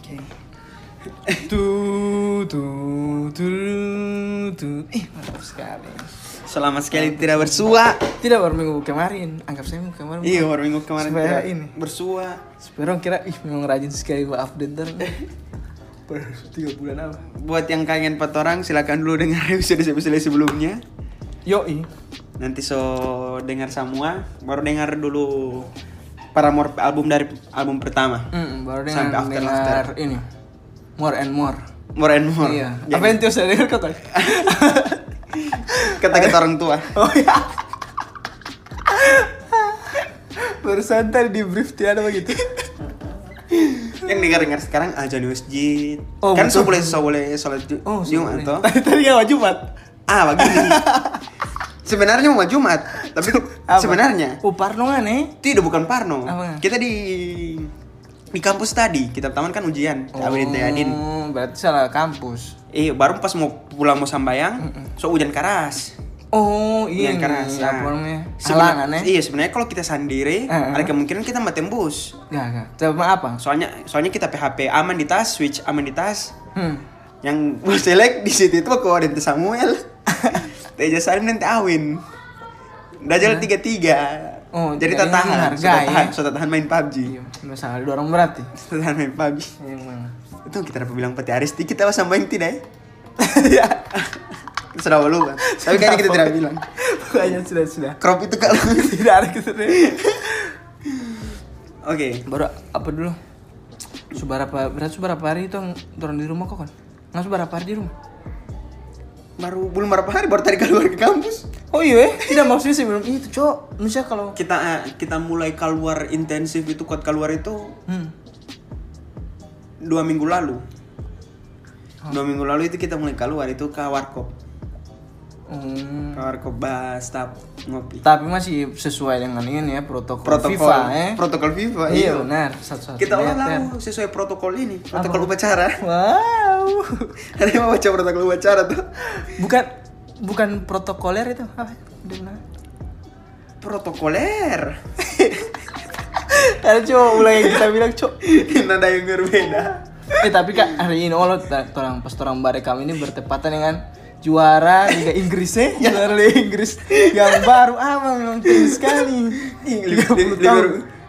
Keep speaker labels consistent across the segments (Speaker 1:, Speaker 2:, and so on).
Speaker 1: Oke. Tu tu tu tu. Ih, mantap sekali.
Speaker 2: Selama sekali tidak bersua.
Speaker 1: Tidak baru minggu kemarin. Anggap saya minggu kemarin.
Speaker 2: Iya, baru minggu kemarin
Speaker 1: Supaya
Speaker 2: tidak
Speaker 1: ini.
Speaker 2: bersua.
Speaker 1: Sebenarnya orang kira ih memang rajin sekali buat update ntar. Baru tiga bulan apa?
Speaker 2: Buat yang kangen petorang silakan dulu dengar episode-episode sebelumnya.
Speaker 1: Yoi.
Speaker 2: Nanti so dengar semua, baru dengar dulu Paramore album dari album pertama.
Speaker 1: Mm, baru dengar,
Speaker 2: Sampai after-
Speaker 1: dengar
Speaker 2: after.
Speaker 1: ini. More and more.
Speaker 2: More and more.
Speaker 1: Iya.
Speaker 2: Jangan-
Speaker 1: Apa yang tiap saya dengar kata?
Speaker 2: Kata-kata orang tua.
Speaker 1: Oh
Speaker 2: iya.
Speaker 1: ya. Baru santai di brief tiada begitu.
Speaker 2: yang dengar-dengar sekarang aja di masjid.
Speaker 1: Oh,
Speaker 2: kan so
Speaker 1: betul.
Speaker 2: boleh so boleh sholat Ju-
Speaker 1: Oh,
Speaker 2: Jumat
Speaker 1: sorry.
Speaker 2: toh.
Speaker 1: Tadi tadi yang mau Jumat.
Speaker 2: Ah, begini. sebenarnya mau Jumat, tapi
Speaker 1: Apa?
Speaker 2: sebenarnya
Speaker 1: Oh, parnongan eh.
Speaker 2: tidak bukan Parno.
Speaker 1: Apa?
Speaker 2: Kita di di kampus tadi, kita taman kan ujian. Abis Adin.
Speaker 1: Oh, berarti salah kampus.
Speaker 2: Eh, baru pas mau pulang mau sambayang, so hujan keras.
Speaker 1: Oh, iya.
Speaker 2: Hujan keras.
Speaker 1: Iya,
Speaker 2: nah.
Speaker 1: apa namanya?
Speaker 2: Sebenar-
Speaker 1: Halangan eh.
Speaker 2: Iya, sebenarnya kalau kita sendiri,
Speaker 1: Ah, ah.
Speaker 2: ada kemungkinan kita mati tembus.
Speaker 1: Enggak, enggak. Coba apa?
Speaker 2: Soalnya soalnya kita PHP aman di tas, switch aman di tas.
Speaker 1: Hmm.
Speaker 2: yang gue selek di situ itu kok ada Ente Samuel Teja Salim dan Teh Awin Dajal tiga tiga
Speaker 1: Oh,
Speaker 2: jadi
Speaker 1: jadi
Speaker 2: tak tahan
Speaker 1: harga,
Speaker 2: sudah
Speaker 1: ya?
Speaker 2: tahan sudah tahan main PUBG
Speaker 1: Iya, masalah dua orang ya? berarti.
Speaker 2: sudah tahan main PUBG
Speaker 1: Iya, memang.
Speaker 2: itu kita dapat bilang peti aris dikit apa sama yang tidak ya
Speaker 1: Iya.
Speaker 2: sudah malu Bang. tapi kayaknya kita tidak bilang
Speaker 1: Pokoknya sudah sudah.
Speaker 2: crop itu kalau oke
Speaker 1: Tidak ada keseriusan. Baru apa dulu? Seberapa berarti seberapa hari itu yang turun di rumah kok kan? Nggak seberapa hari di rumah?
Speaker 2: baru belum berapa hari baru tadi keluar ke kampus
Speaker 1: Oh iya, eh? tidak maksudnya sebelum itu, cok. Misalnya kalau
Speaker 2: kita eh, kita mulai keluar intensif itu kuat keluar itu
Speaker 1: hmm.
Speaker 2: dua minggu lalu
Speaker 1: Oh.
Speaker 2: dua minggu lalu itu kita mulai keluar itu ke warkop
Speaker 1: Hmm.
Speaker 2: Kawar kebas, tap ngopi.
Speaker 1: Tapi masih sesuai dengan ini ya protokol,
Speaker 2: Protokol
Speaker 1: FIFA ya.
Speaker 2: Protokol FIFA.
Speaker 1: iya benar, satu-satu.
Speaker 2: Kita olah
Speaker 1: meter.
Speaker 2: lalu sesuai protokol ini, protokol upacara.
Speaker 1: Wow.
Speaker 2: Ada yang mau baca protokol upacara tuh.
Speaker 1: Bukan bukan protokoler itu apa? Dia bilang.
Speaker 2: Protokoler.
Speaker 1: Ada coba ulang yang kita bilang, cok.
Speaker 2: Nada yang berbeda.
Speaker 1: Eh tapi kak hari ini Allah orang pas orang bare kami ini bertepatan dengan juara Liga Inggris eh
Speaker 2: Ya.
Speaker 1: juara Liga Inggris yang baru apa memang tinggi sekali
Speaker 2: Ih,
Speaker 1: 30 tahun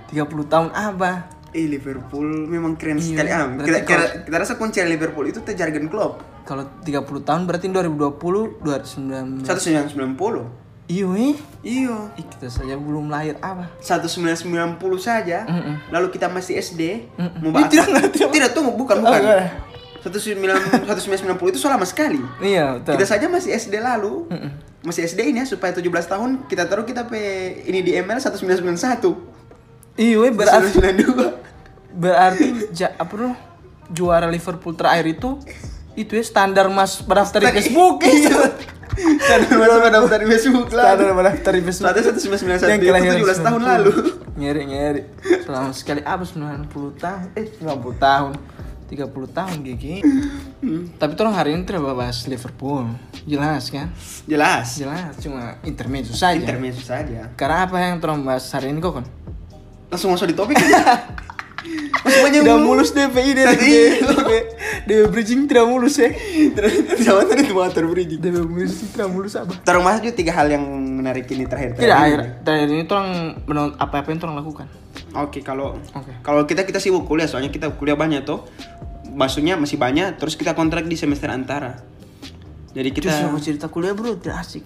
Speaker 2: Liverpool.
Speaker 1: 30 tahun apa
Speaker 2: Eh Liverpool memang keren
Speaker 1: Iya,
Speaker 2: sekali. Ah,
Speaker 1: berarti
Speaker 2: kita, kita, kita rasa kunci Liverpool itu teh Jurgen Klopp.
Speaker 1: Kalau 30 tahun berarti 2020 2019.
Speaker 2: 1990.
Speaker 1: Iyo eh.
Speaker 2: Iya.
Speaker 1: Ih, kita saja belum lahir apa?
Speaker 2: 1990 saja. Lalu kita masih SD. Mau
Speaker 1: Ih, tidak,
Speaker 2: apa?
Speaker 1: tidak.
Speaker 2: tidak tunggu, bukan,
Speaker 1: Oh,
Speaker 2: bukan.
Speaker 1: enggak.
Speaker 2: 1990 1990 itu so lama sekali.
Speaker 1: Iya, betul.
Speaker 2: Kita saja masih SD lalu. Masih SD ini ya supaya 17 tahun kita taruh kita pe ini di ML 1991.
Speaker 1: Iyo eh, berarti
Speaker 2: 1992.
Speaker 1: berarti ja, apa dulu? Juara Liverpool terakhir itu itu ya standar mas pendaftar di Facebook.
Speaker 2: Iya. Karena masih pada daftar di Facebook lalu.
Speaker 1: Standar pendaftar di Facebook.
Speaker 2: Satu 1991 itu
Speaker 1: kelahiran
Speaker 2: 17 tahun
Speaker 1: 90.
Speaker 2: lalu.
Speaker 1: Nyeri-nyeri. Selama sekali apa 90 tahun? Eh, 90 tahun. 30 tahun gigi. Tapi tolong hari ini tidak bahas Liverpool. Jelas kan?
Speaker 2: Jelas. ya.
Speaker 1: Jelas, cuma intermezzo saja.
Speaker 2: Intermezzo saja.
Speaker 1: Karena apa yang terus bahas hari ini kok kon?
Speaker 2: Langsung masuk di topik aja. Masih banyak
Speaker 1: Tidak
Speaker 2: mulu.
Speaker 1: mulus DPI dari
Speaker 2: Tadi.
Speaker 1: DP, DP bridging tidak mulus ya.
Speaker 2: Terus sama tadi itu motor bridging.
Speaker 1: DP bridging tidak mulus apa?
Speaker 2: Taruh masuk juga tiga hal yang menarik ini terakhir.
Speaker 1: Tidak akhir dari ini tolong menon apa apa yang tolong lakukan.
Speaker 2: Oke, kalau
Speaker 1: Oke.
Speaker 2: kalau kita kita sibuk kuliah, soalnya kita kuliah banyak tuh. Maksudnya masih banyak, terus kita kontrak di semester antara. Jadi kita
Speaker 1: Justru aku cerita kuliah bro tidak asik.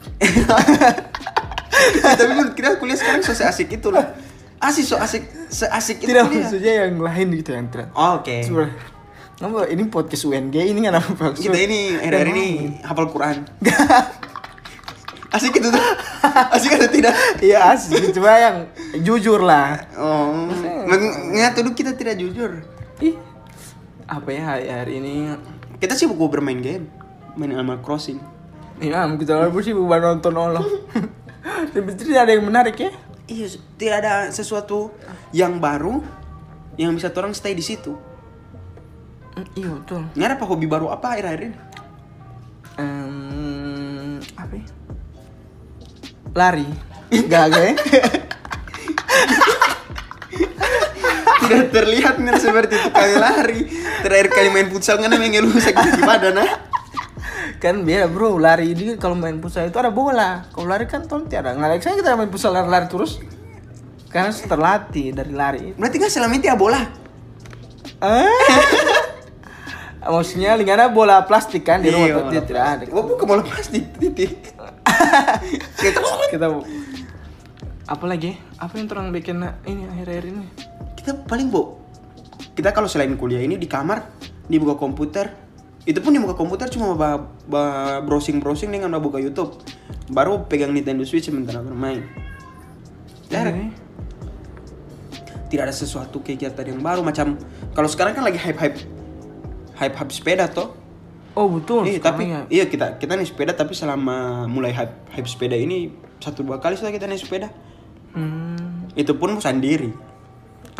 Speaker 2: tapi menurut kita kuliah sekarang so asik itu lah. Asik so asik seasik itu
Speaker 1: tidak
Speaker 2: kuliah.
Speaker 1: maksudnya yang lain gitu yang tidak.
Speaker 2: Oke.
Speaker 1: Sebenarnya, Kenapa ini podcast UNG ini kan apa maksud?
Speaker 2: Kita ini akhir-akhir ini hafal Quran. asik itu tuh. Asik atau tidak?
Speaker 1: Iya asik, cuma yang jujur lah.
Speaker 2: Oh, men- nggak tuduh kita tidak jujur.
Speaker 1: Ih, apa ya hari, hari ini?
Speaker 2: Kita sibuk bermain game, main Animal Crossing.
Speaker 1: Ya, kita lagi sih bukan nonton Allah. Sebenarnya ada yang menarik ya.
Speaker 2: Iya, se- tidak ada sesuatu yang baru yang bisa orang stay di situ.
Speaker 1: Hmm, Iya betul.
Speaker 2: Nggak ada apa hobi baru apa akhir-akhir ini?
Speaker 1: Em, apa? ya? Lari. Gak gak ya?
Speaker 2: tidak terlihat nih seperti itu kami lari terakhir kali main futsal kan emang lu sakit di badan nah
Speaker 1: kan beda bro lari ini kalau main futsal itu ada bola kalau lari kan tolong tiada nggak saya kita main futsal lari-lari terus karena harus terlatih dari lari
Speaker 2: berarti kan selama itu ya bola
Speaker 1: eh maksudnya lingana bola plastik kan di
Speaker 2: Iya,
Speaker 1: rumah
Speaker 2: bola
Speaker 1: dia tidak ada
Speaker 2: gua buka bola plastik titik kita
Speaker 1: kita apa lagi apa yang terang bikin ini akhir-akhir ini
Speaker 2: kita paling bu kita kalau selain kuliah ini di kamar di buka komputer itu pun di buka komputer cuma ba- ba- browsing browsing dengan ba- buka YouTube baru pegang Nintendo Switch sementara bermain Tidak ada-
Speaker 1: Ini.
Speaker 2: tidak ada sesuatu kegiatan yang baru macam kalau sekarang kan lagi hype hype hype hype sepeda toh
Speaker 1: oh betul
Speaker 2: Iya,
Speaker 1: sekarang
Speaker 2: tapi
Speaker 1: ya.
Speaker 2: iya kita kita naik sepeda tapi selama mulai hype hype sepeda ini satu dua kali sudah kita naik sepeda
Speaker 1: Hmm,
Speaker 2: itu pun sendiri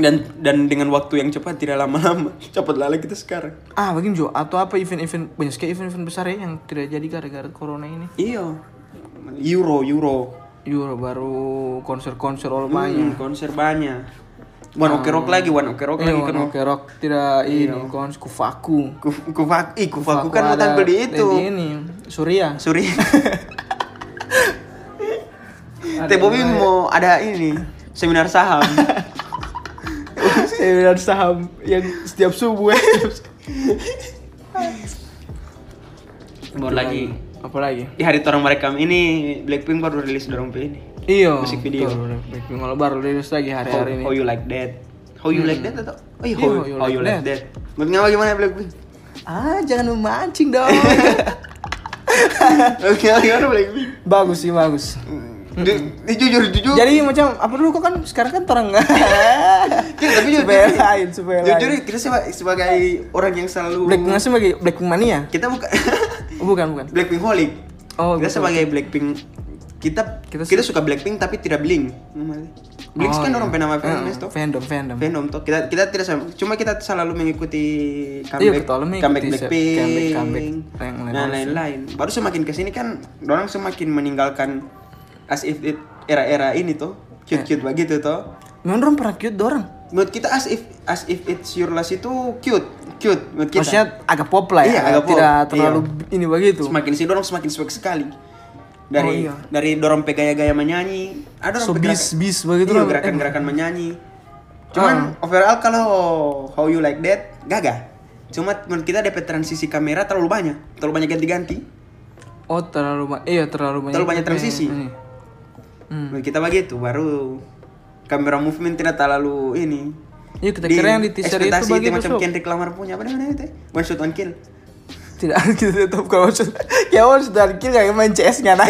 Speaker 2: dan dan dengan waktu yang cepat tidak lama-lama cepat lala kita sekarang
Speaker 1: ah begini Jo atau apa event-event banyak sekali event-event besar ya yang tidak jadi gara-gara corona ini
Speaker 2: iya euro euro
Speaker 1: Euro baru konser-konser all banyak
Speaker 2: banyak konser banyak one ok rock lagi one ok rock Iya.
Speaker 1: Eh,
Speaker 2: lagi
Speaker 1: One
Speaker 2: kan
Speaker 1: Ok Rock tidak ini kon kufaku
Speaker 2: Ku- kufaku kan ih kufaku kan mau
Speaker 1: ada
Speaker 2: tampil di
Speaker 1: di
Speaker 2: itu
Speaker 1: ini Surya
Speaker 2: sorry teh Bobby mau ada ini seminar saham
Speaker 1: seminar Eh, saham yang setiap subuh ya
Speaker 2: baru lagi
Speaker 1: apa lagi
Speaker 2: di hari orang merekam ini Blackpink baru rilis dorong ini
Speaker 1: Iya.
Speaker 2: Musik video. Oh,
Speaker 1: betul.
Speaker 2: iya.
Speaker 1: Blackpink kalau baru rilis lagi
Speaker 2: how,
Speaker 1: hari-hari ini.
Speaker 2: how you like that how you like that atau oh iya
Speaker 1: Iya,
Speaker 2: how, how you, like, that, menurut kamu gimana Blackpink
Speaker 1: Ah, jangan memancing dong.
Speaker 2: menurut kamu gimana Blackpink
Speaker 1: bagus sih, bagus.
Speaker 2: Di- di- jujur jujur
Speaker 1: Jadi macam apa dulu kok kan sekarang kan terang.
Speaker 2: Iya, tapi jujur
Speaker 1: supaya lain, supaya lain.
Speaker 2: jujur kita seba- sebagai orang yang selalu
Speaker 1: Blackpink ngasih bagi Blackpink mania.
Speaker 2: kita bukan
Speaker 1: Oh, bukan, bukan.
Speaker 2: Blackpink holic
Speaker 1: Oh,
Speaker 2: kita
Speaker 1: betul.
Speaker 2: sebagai Blackpink kita
Speaker 1: Kita
Speaker 2: kita,
Speaker 1: su-
Speaker 2: suka Blackpink tapi tidak bling Blink
Speaker 1: Oh,
Speaker 2: kan
Speaker 1: iya.
Speaker 2: orang penama
Speaker 1: Eh,
Speaker 2: fans tuh
Speaker 1: Fandom, fandom.
Speaker 2: Venom toh kita kita tidak sama cuma kita selalu mengikuti
Speaker 1: Iya,
Speaker 2: comeback
Speaker 1: kita selalu mengikuti
Speaker 2: comeback
Speaker 1: se-
Speaker 2: Blackpink
Speaker 1: comeback- comeback ya. yang lain-lain.
Speaker 2: dan lain-lain baru semakin kesini kan orang semakin meninggalkan as if it era-era ini tuh cute cute
Speaker 1: Iya.
Speaker 2: begitu toh
Speaker 1: Memang orang pernah cute dorang.
Speaker 2: menurut kita as if as if it's your last itu cute cute menurut kita
Speaker 1: Maksudnya agak pop lah ya.
Speaker 2: Iya, agak pop.
Speaker 1: Tidak terlalu
Speaker 2: Iya.
Speaker 1: ini begitu.
Speaker 2: semakin sini dorong semakin swag sekali
Speaker 1: Oh,
Speaker 2: dari
Speaker 1: iya.
Speaker 2: dari dorong gaya-gaya menyanyi ada
Speaker 1: So
Speaker 2: dorong
Speaker 1: bis
Speaker 2: gerakan-
Speaker 1: bis begitu
Speaker 2: iya,
Speaker 1: lah.
Speaker 2: gerakan-gerakan menyanyi cuman
Speaker 1: Ah.
Speaker 2: overall kalau how you like that gagah cuma menurut kita DP transisi kamera terlalu banyak terlalu banyak ganti-ganti
Speaker 1: Oh, terlalu ba- iya terlalu banyak. Iya.
Speaker 2: Terlalu banyak
Speaker 1: Tapi-
Speaker 2: transisi.
Speaker 1: Ini. Hmm.
Speaker 2: menurut kita begitu baru kamera movement tidak terlalu ini
Speaker 1: Iya, kita kira yang di teaser itu
Speaker 2: ekspektasi
Speaker 1: begitu.
Speaker 2: macam
Speaker 1: Sob.
Speaker 2: Kendrick Lamar punya apa namanya itu ya. one shot one kill
Speaker 1: tidak kita tutup kalau maksud ya harus dari kill kayak main CS nya nah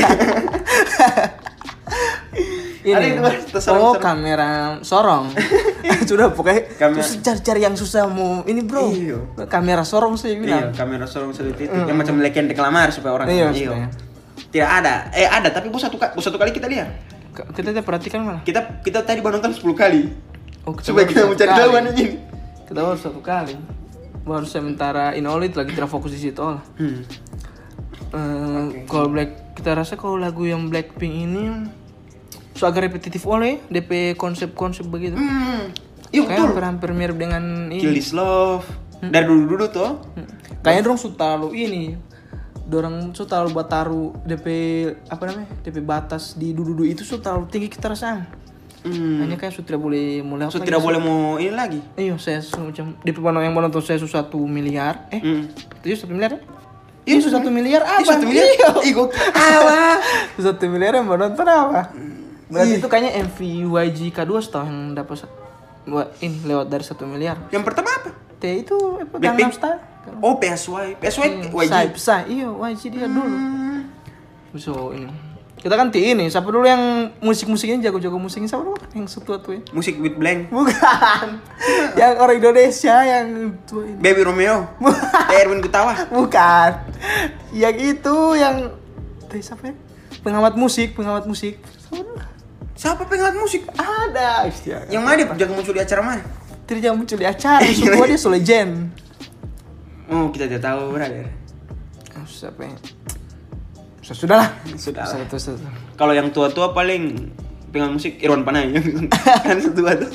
Speaker 2: Ada yang luar, tersorong-
Speaker 1: oh
Speaker 2: sorong.
Speaker 1: kamera sorong sudah pokoknya
Speaker 2: Kamera.
Speaker 1: terus cari-cari yang susah mau ini bro
Speaker 2: Iya.
Speaker 1: kamera sorong sih
Speaker 2: Iya,
Speaker 1: bilang
Speaker 2: kamera sorong sudut itu yang macam leken reklamar supaya orang
Speaker 1: Hmm. Iya, supaya.
Speaker 2: Tidak ada. Eh ada, tapi bu satu, ka- bu satu kali kita lihat.
Speaker 1: K- kita tidak perhatikan malah
Speaker 2: Kita kita tadi baru nonton 10 kali.
Speaker 1: oh, kita
Speaker 2: supaya
Speaker 1: baru
Speaker 2: kita
Speaker 1: satu
Speaker 2: mencari
Speaker 1: kali.
Speaker 2: tahu mana ini.
Speaker 1: kita baru satu kali baru sementara inolit lagi tidak fokus di situ lah
Speaker 2: Hmm.
Speaker 1: Eh, kalau Black kita rasa kalau lagu yang Blackpink ini so agak repetitif oleh DP konsep-konsep begitu
Speaker 2: Hmm. Iya
Speaker 1: Kayaknya
Speaker 2: betul.
Speaker 1: hampir, hampir mirip dengan
Speaker 2: Kill
Speaker 1: ini.
Speaker 2: this love. Dari dulu-dulu tuh.
Speaker 1: Kayaknya dorong sudah terlalu ini. Dorong sudah terlalu buat taruh DP apa namanya? DP batas di dudu itu sudah terlalu tinggi kita rasa.
Speaker 2: Hmm.
Speaker 1: Hanya kayak sudah tidak boleh mulai
Speaker 2: So,
Speaker 1: apa
Speaker 2: tidak
Speaker 1: lagi.
Speaker 2: boleh mau ini lagi.
Speaker 1: Iya, saya semacam DP mana yang menonton saya sudah satu miliar. Eh,
Speaker 2: Hmm.
Speaker 1: itu satu miliar? Iya, sudah satu miliar apa?
Speaker 2: Ih, satu miliar.
Speaker 1: Iya.
Speaker 2: Ih, gokil. Alah.
Speaker 1: Satu miliar yang menonton apa? Hmm. Berarti itu kayaknya MV YG K2 setahu yang dapat sa- wa- ini lewat dari satu miliar.
Speaker 2: Yang pertama apa?
Speaker 1: T itu eh, apa? Gangnam
Speaker 2: Blackpink?
Speaker 1: Style.
Speaker 2: Oh, PSY. PSY YG.
Speaker 1: Psy, Psy, iya YG dia dulu
Speaker 2: Mm-hmm.
Speaker 1: So ini Kita kan ti ini, siapa dulu yang musik-musiknya jago-jago musiknya siapa dulu kan yang setua tuh ya?
Speaker 2: Musik with blank.
Speaker 1: Bukan Yang orang Indonesia yang tua ini
Speaker 2: Baby Romeo. Eh, Erwin Gutawa.
Speaker 1: Bukan Yang itu yang Teh siapa ya? Pengamat musik, pengamat musik Siapa dulu?
Speaker 2: Siapa pengamat musik?
Speaker 1: Ada istilah.
Speaker 2: Yang mana dia jaga muncul di acara mana?
Speaker 1: Tidak jangan muncul di acara, semua dia so legend
Speaker 2: Oh, kita tidak tahu, brother.
Speaker 1: Ah, Siapa ya? Sudah lah
Speaker 2: Sudah lah.
Speaker 1: Satu, satu.
Speaker 2: Kalau yang tua-tua paling pengen musik Irwan Panai kan setua tuh.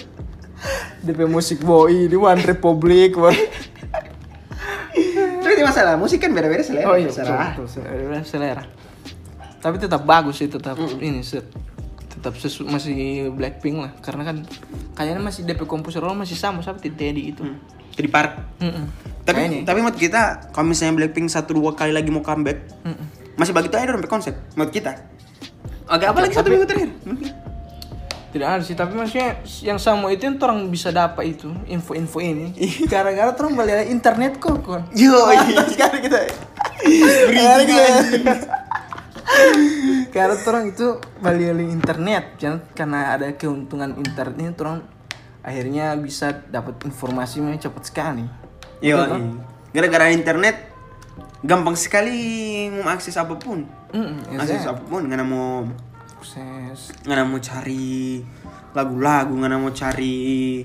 Speaker 1: DP musik boy ini One Republic boy.
Speaker 2: Tapi itu masalah, musik kan beda-beda selera.
Speaker 1: oh iya
Speaker 2: terserah.
Speaker 1: betul, betul, selera. selera tapi tetap bagus sih tetap ini set tetap sesu- masih Blackpink lah karena kan kayaknya masih DP komposer lo masih sama sama Teddy itu
Speaker 2: gitu. Jadi
Speaker 1: gitu.
Speaker 2: park.
Speaker 1: Mm-mm.
Speaker 2: Mm. Tapi
Speaker 1: Kayaknya.
Speaker 2: tapi menurut kita kalau misalnya Blackpink satu dua kali lagi mau comeback,
Speaker 1: Mm-mm.
Speaker 2: masih bagi tuh aja sampai konsep menurut kita. Oke, apa lagi satu minggu terakhir? Mungkin.
Speaker 1: tidak ada sih tapi maksudnya yang sama itu yang orang bisa dapat itu info-info ini
Speaker 2: Iya.
Speaker 1: gara-gara orang balik internet kok kon
Speaker 2: Yo, sekarang iya, kan kita.
Speaker 1: Karena
Speaker 2: Berisik anjing.
Speaker 1: kita- Karena orang itu balik internet, jangan karena ada keuntungan internet, orang akhirnya bisa dapat informasinya cepat sekali. kan?
Speaker 2: Yo, gara-gara internet gampang sekali mengakses apapun.
Speaker 1: Mm,
Speaker 2: Akses
Speaker 1: ya,
Speaker 2: apapun, nggak mau
Speaker 1: Akses.
Speaker 2: nggak mau cari lagu-lagu, nggak mau cari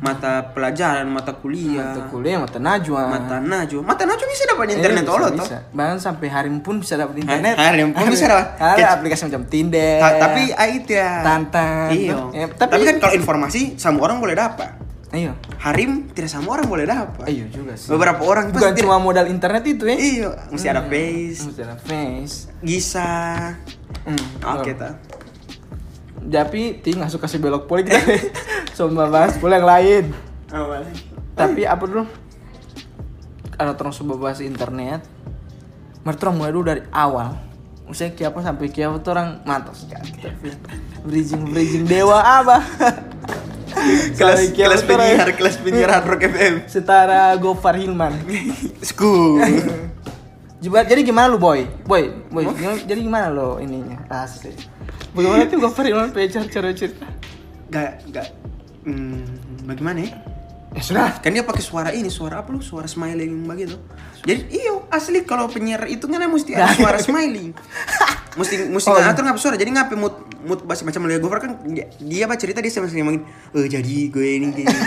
Speaker 2: mata pelajaran, Mm. mata kuliah,
Speaker 1: Mata kuliah, mata najwa.
Speaker 2: Iya. mata najwa. Mata najwa bisa dapat internet
Speaker 1: Eh, bisa,
Speaker 2: Allah toh.
Speaker 1: bisa. Bahkan sampai hari pun bisa dapat internet.
Speaker 2: hari pun bisa dapat.
Speaker 1: Ada
Speaker 2: Kayak-
Speaker 1: aplikasi macam Tinder.
Speaker 2: Ta- tapi AI tidak.
Speaker 1: Eh, Tantan.
Speaker 2: Iya.
Speaker 1: Eh,
Speaker 2: tapi,
Speaker 1: tapi-
Speaker 2: kan kalau informasi sama orang boleh dapat.
Speaker 1: Ayo.
Speaker 2: Harim tidak sama orang boleh dapat.
Speaker 1: Ayo juga sih.
Speaker 2: Beberapa
Speaker 1: Iya.
Speaker 2: orang
Speaker 1: Bukan
Speaker 2: pasti
Speaker 1: cuma modal internet itu ya.
Speaker 2: Iya, mesti ada face,
Speaker 1: Mesti ada face.
Speaker 2: Gisa.
Speaker 1: Hmm,
Speaker 2: Oke, ta.
Speaker 1: Tapi Ti nggak suka si belok poli kita Coba bahas poli yang lain
Speaker 2: Awal.
Speaker 1: Tapi apa dulu Ada terus coba bahas internet Mereka mulai dulu dari awal Maksudnya kiapa sampai kiapa tuh orang mantap sekali Bridging bridging dewa apa
Speaker 2: Kelas
Speaker 1: Sampai kiapa
Speaker 2: kelas
Speaker 1: tuh orang ya.
Speaker 2: penyiar, kelas penyiar Hard Rock FM.
Speaker 1: Setara Gofar Hilman
Speaker 2: School.
Speaker 1: Juga- Jadi gimana lu boy? Boy, boy, gimana- jadi gimana lo ininya? Asli Bagaimana tuh Gofar Hilman pacar cara cerita?
Speaker 2: gak gak hmm, bagaimana ya?
Speaker 1: Ya sudah
Speaker 2: Kan dia pakai suara ini, suara apa lu? Suara smiling begitu. Jadi iyo asli kalau penyiar itu kan mesti ada suara smiling. mesti mesti
Speaker 1: Oh, iya.
Speaker 2: ngatur ngapa suara. Jadi ngapain mood mood bahasa macam Leo Gofar kan dia, dia apa cerita dia sama sama eh jadi gue ini kayak gini."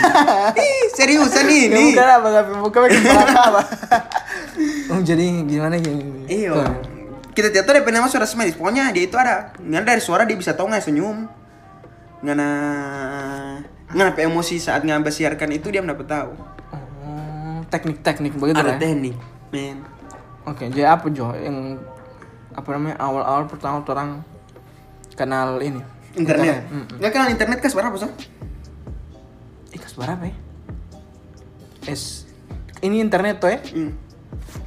Speaker 2: Ih, seriusan nih
Speaker 1: Ya
Speaker 2: nih.
Speaker 1: bukan apa tapi muka makin berapa apa. Om jadi gimana gini?
Speaker 2: Iyo.
Speaker 1: Tuh.
Speaker 2: Kita tiap tahu dia nama suara smiling. Pokoknya dia itu ada. Nggak dari suara dia bisa tau nggak senyum. Nggak na nggak apa emosi saat ngambil siarkan itu dia mendapat tahu.
Speaker 1: Oh, teknik-teknik begitu lah.
Speaker 2: Ada
Speaker 1: ya.
Speaker 2: teknik, men.
Speaker 1: Oke, jadi apa Jo yang apa namanya awal-awal pertama tuh orang kenal ini
Speaker 2: Internet.
Speaker 1: Mm.
Speaker 2: Nggak kenal internet kan sebenarnya apa sih?
Speaker 1: Ih, kelas berapa ya? Es ini internet tuh ya?
Speaker 2: Hmm.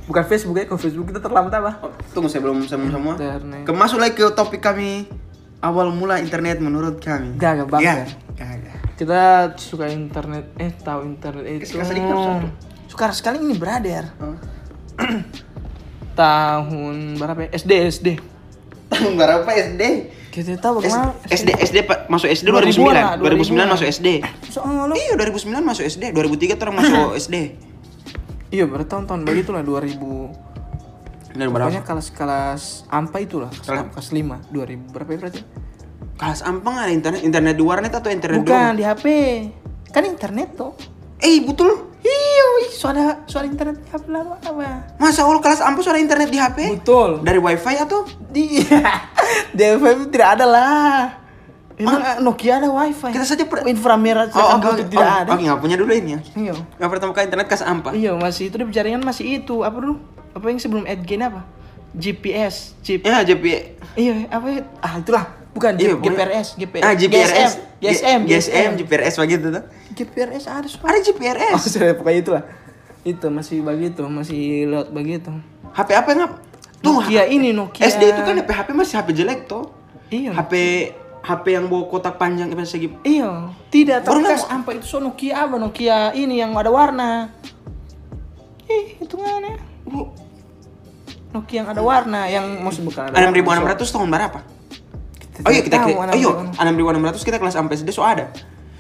Speaker 1: Bukan Facebook ya, kalau Facebook kita terlambat apa?
Speaker 2: Oh, Tunggu saya belum semua semua.
Speaker 1: Internet.
Speaker 2: Kemasuk lagi ke topik kami awal mula internet menurut kami. Ya?
Speaker 1: Gak, gak, bang,
Speaker 2: Gak,
Speaker 1: gak.
Speaker 2: gak, gak.
Speaker 1: Kita suka internet, eh tahu internet itu.
Speaker 2: Suka sekali, kenapa satu?
Speaker 1: Suka sekali ini brother.
Speaker 2: Oh.
Speaker 1: Tahun berapa ya? SD, SD.
Speaker 2: Tahun berapa SD?
Speaker 1: Kita tahu
Speaker 2: S-
Speaker 1: bagaimana
Speaker 2: SD SD pa- masuk SD
Speaker 1: 2000-an lah,
Speaker 2: 2009. 2009
Speaker 1: 2000-an.
Speaker 2: masuk SD.
Speaker 1: Soalnya
Speaker 2: Iya, 2009 masuk SD. 2003 terus masuk
Speaker 1: Hmm.
Speaker 2: SD.
Speaker 1: Iya berarti tahun-tahun begitu lah 2000
Speaker 2: Dan
Speaker 1: Pokoknya
Speaker 2: berapa?
Speaker 1: kelas-kelas ampa itulah kelas,
Speaker 2: Kelas-
Speaker 1: kelas 5 2000 berapa ya berarti?
Speaker 2: Kelas Ampang ada internet internet di warnet atau internet
Speaker 1: Bukan di HP Kan internet tuh
Speaker 2: doang? Eh, betul.
Speaker 1: Iya wih, suara, suara internet di HP lama apa?
Speaker 2: Masa all kelas Ampang sudah internet di HP?
Speaker 1: Betul
Speaker 2: Dari wifi atau?
Speaker 1: Di, di HP tidak ada lah Emang Nokia ada wifi
Speaker 2: Kita saja per-
Speaker 1: Inframerah oh,
Speaker 2: Oh, oke, oke.
Speaker 1: tidak
Speaker 2: Oh,
Speaker 1: ada
Speaker 2: Oke, nggak punya dulu ini ya.
Speaker 1: Iya
Speaker 2: Yang pertama kali internet kelas Ampang.
Speaker 1: Iya masih itu dia jaringan masih itu Apa dulu? Apa yang sebelum Edgen apa? GPS GPS
Speaker 2: Ya, JP
Speaker 1: Iya, apa ya? Ah, itulah. Bukan G-
Speaker 2: Iya, pokoknya-
Speaker 1: GPRS, GPRS.
Speaker 2: Ah, GPRS.
Speaker 1: GSM,
Speaker 2: G- GSM, GPRS begitu tuh.
Speaker 1: GPRS ada suara.
Speaker 2: Ada GPRS.
Speaker 1: Oh, sudah pokoknya itulah. Itu masih begitu, masih lewat begitu.
Speaker 2: HP apa yang apa? Tuh,
Speaker 1: Oh. Nokia
Speaker 2: H-
Speaker 1: ini Nokia.
Speaker 2: SD itu kan HP HP masih HP jelek tuh.
Speaker 1: Iya.
Speaker 2: HP HP yang bawa kotak panjang apa segi.
Speaker 1: Iya, tidak
Speaker 2: Baru
Speaker 1: tapi kan
Speaker 2: nggak-
Speaker 1: sampai itu so Nokia apa Nokia ini yang ada warna. Ih, hitungannya.
Speaker 2: Bu,
Speaker 1: Nokia yang ada warna yang mau bukan ada.
Speaker 2: enam ribu
Speaker 1: warna,
Speaker 2: enam
Speaker 1: so.
Speaker 2: ratus tahun berapa?
Speaker 1: Kita
Speaker 2: Oh iya
Speaker 1: tidak tahu,
Speaker 2: kita kira. Oh iya,
Speaker 1: 6.600.
Speaker 2: enam ribu enam ratus kita kelas sampai SD so ada.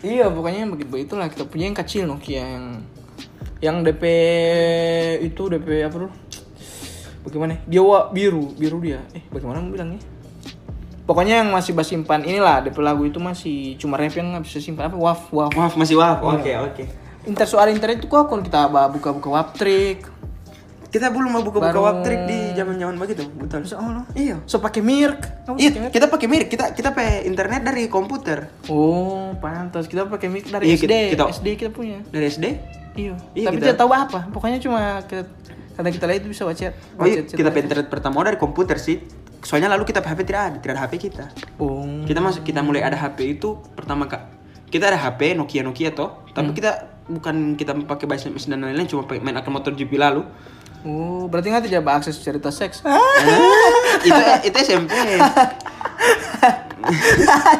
Speaker 1: Iya, pokoknya yang begitu begitulah kita punya yang kecil Nokia yang yang DP itu DP apa dulu? Bagaimana? Dia wa- biru, biru dia. Eh, bagaimana mau bilangnya? Pokoknya yang masih bas simpan inilah DP lagu itu masih cuma rap yang nggak bisa simpan apa waf waf.
Speaker 2: Oh, Maaf
Speaker 1: Iya.
Speaker 2: masih waf. Oke oke.
Speaker 1: Inter soal internet itu kok kalau kita ba- buka-buka wap trick.
Speaker 2: Kita belum mau buka-buka
Speaker 1: Baru-
Speaker 2: waptrik di zaman-zaman begitu, betul.
Speaker 1: Masya Allah.
Speaker 2: Iya.
Speaker 1: So pakai mirk. Kamu oh, pakai
Speaker 2: Iya,
Speaker 1: mirk?
Speaker 2: kita pakai mirip, kita kita pakai internet dari komputer.
Speaker 1: Oh, pantas kita pakai mirk dari
Speaker 2: Iya,
Speaker 1: SD.
Speaker 2: kita- kita-
Speaker 1: SD kita punya.
Speaker 2: Dari SD?
Speaker 1: Iya.
Speaker 2: Iya,
Speaker 1: Tapi
Speaker 2: kita-
Speaker 1: tidak tahu apa. Pokoknya cuma ke karena kita lihat itu bisa wacet.
Speaker 2: Oh, iya,
Speaker 1: wacet-
Speaker 2: kita pakai internet pertama dari komputer sih. Soalnya lalu kita HP tidak ada, tidak ada HP kita.
Speaker 1: Oh.
Speaker 2: Kita masuk kita mulai ada HP itu pertama Kak. Kita ada HP Nokia Nokia toh, tapi kita bukan kita pakai bahasa mesin dan lain-lain cuma pakai main akun motor GP lalu.
Speaker 1: Oh, berarti nggak tidak akses cerita seks.
Speaker 2: itu itu SMP.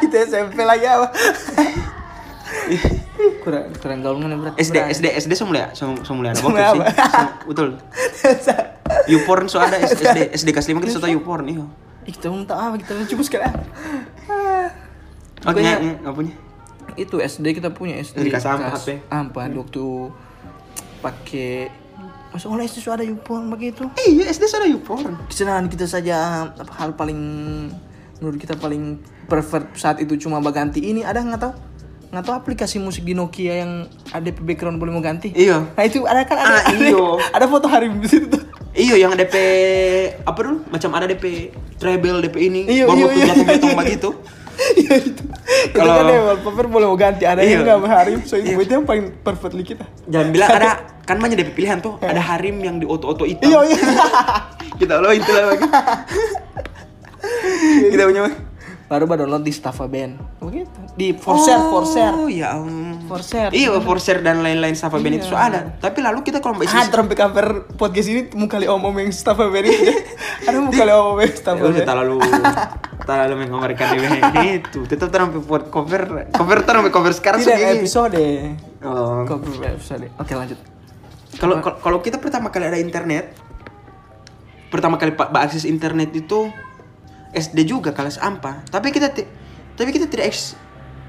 Speaker 1: itu SMP lagi apa? kurang kurang gaulungan yang berat.
Speaker 2: SD
Speaker 1: Berat.
Speaker 2: SD SD so mulai so, so mulai ada
Speaker 1: So
Speaker 2: waktu sih.
Speaker 1: mulai apa?
Speaker 2: So, betul. YouPorn so ada S- SD SD kelas 5 kita so tau YouPorn iya.
Speaker 1: Ih, kita belum tahu apa kita kan? cukup sekarang.
Speaker 2: Oke,
Speaker 1: Pokoknya-
Speaker 2: nggak punya.
Speaker 1: itu SD kita punya SD
Speaker 2: Dikasih ampas,
Speaker 1: kelas
Speaker 2: ya?
Speaker 1: ampas waktu pakai Masya Allah SD sudah ada YouPorn begitu
Speaker 2: Iya, SD so ada YouPorn.
Speaker 1: kesenangan kita saja apa, hal paling menurut kita paling prefer saat itu cuma baganti ini ada nggak tahu nggak tahu aplikasi musik di Nokia yang ada background boleh mau ganti
Speaker 2: Iya.
Speaker 1: nah itu ada kan ada
Speaker 2: Ah, iyo.
Speaker 1: ada foto hari di situ tuh
Speaker 2: Iya yang DP apa dulu? Macam ada DP treble, DP ini,
Speaker 1: Iya,
Speaker 2: baru
Speaker 1: iya,
Speaker 2: waktu
Speaker 1: iya,
Speaker 2: jatuh-jatuh
Speaker 1: iya.
Speaker 2: begitu.
Speaker 1: Iya itu itu
Speaker 2: Kalau-
Speaker 1: kan ya wallpaper boleh mau ganti ada
Speaker 2: Iya.
Speaker 1: yang nggak sama Harim so itu itu yang paling perfectly kita
Speaker 2: Jangan bilang ada kan banyak DP pilihan tuh, ada Harim yang di oto-oto hitam.
Speaker 1: iya iya
Speaker 2: Kita lo itu lah lagi. Kita punya mah.
Speaker 1: baru baru download di Staffa Band begitu di Forshare Forshare
Speaker 2: Oh ya ampun.
Speaker 1: Forshare.
Speaker 2: Iya, Forshare dan lain-lain Safa Band
Speaker 1: Iya.
Speaker 2: itu so ada. Tapi lalu kita kalau Mbak
Speaker 1: Ah, terlalu cover podcast ini mau kali om om yang staff band ini. Ada mau kali om om yang staff
Speaker 2: Ya udah
Speaker 1: band.
Speaker 2: terlalu terlalu mengomongkan ini itu. Tetap terlalu buat cover cover terlalu cover sekarang
Speaker 1: Tidak
Speaker 2: segini.
Speaker 1: episode.
Speaker 2: Oh.
Speaker 1: Cover episode. Oke lanjut.
Speaker 2: Kalau kalau- kalau kita pertama kali ada internet, pertama kali pak akses internet itu SD juga kelas ampa. Tapi kita ti- tapi kita tidak eks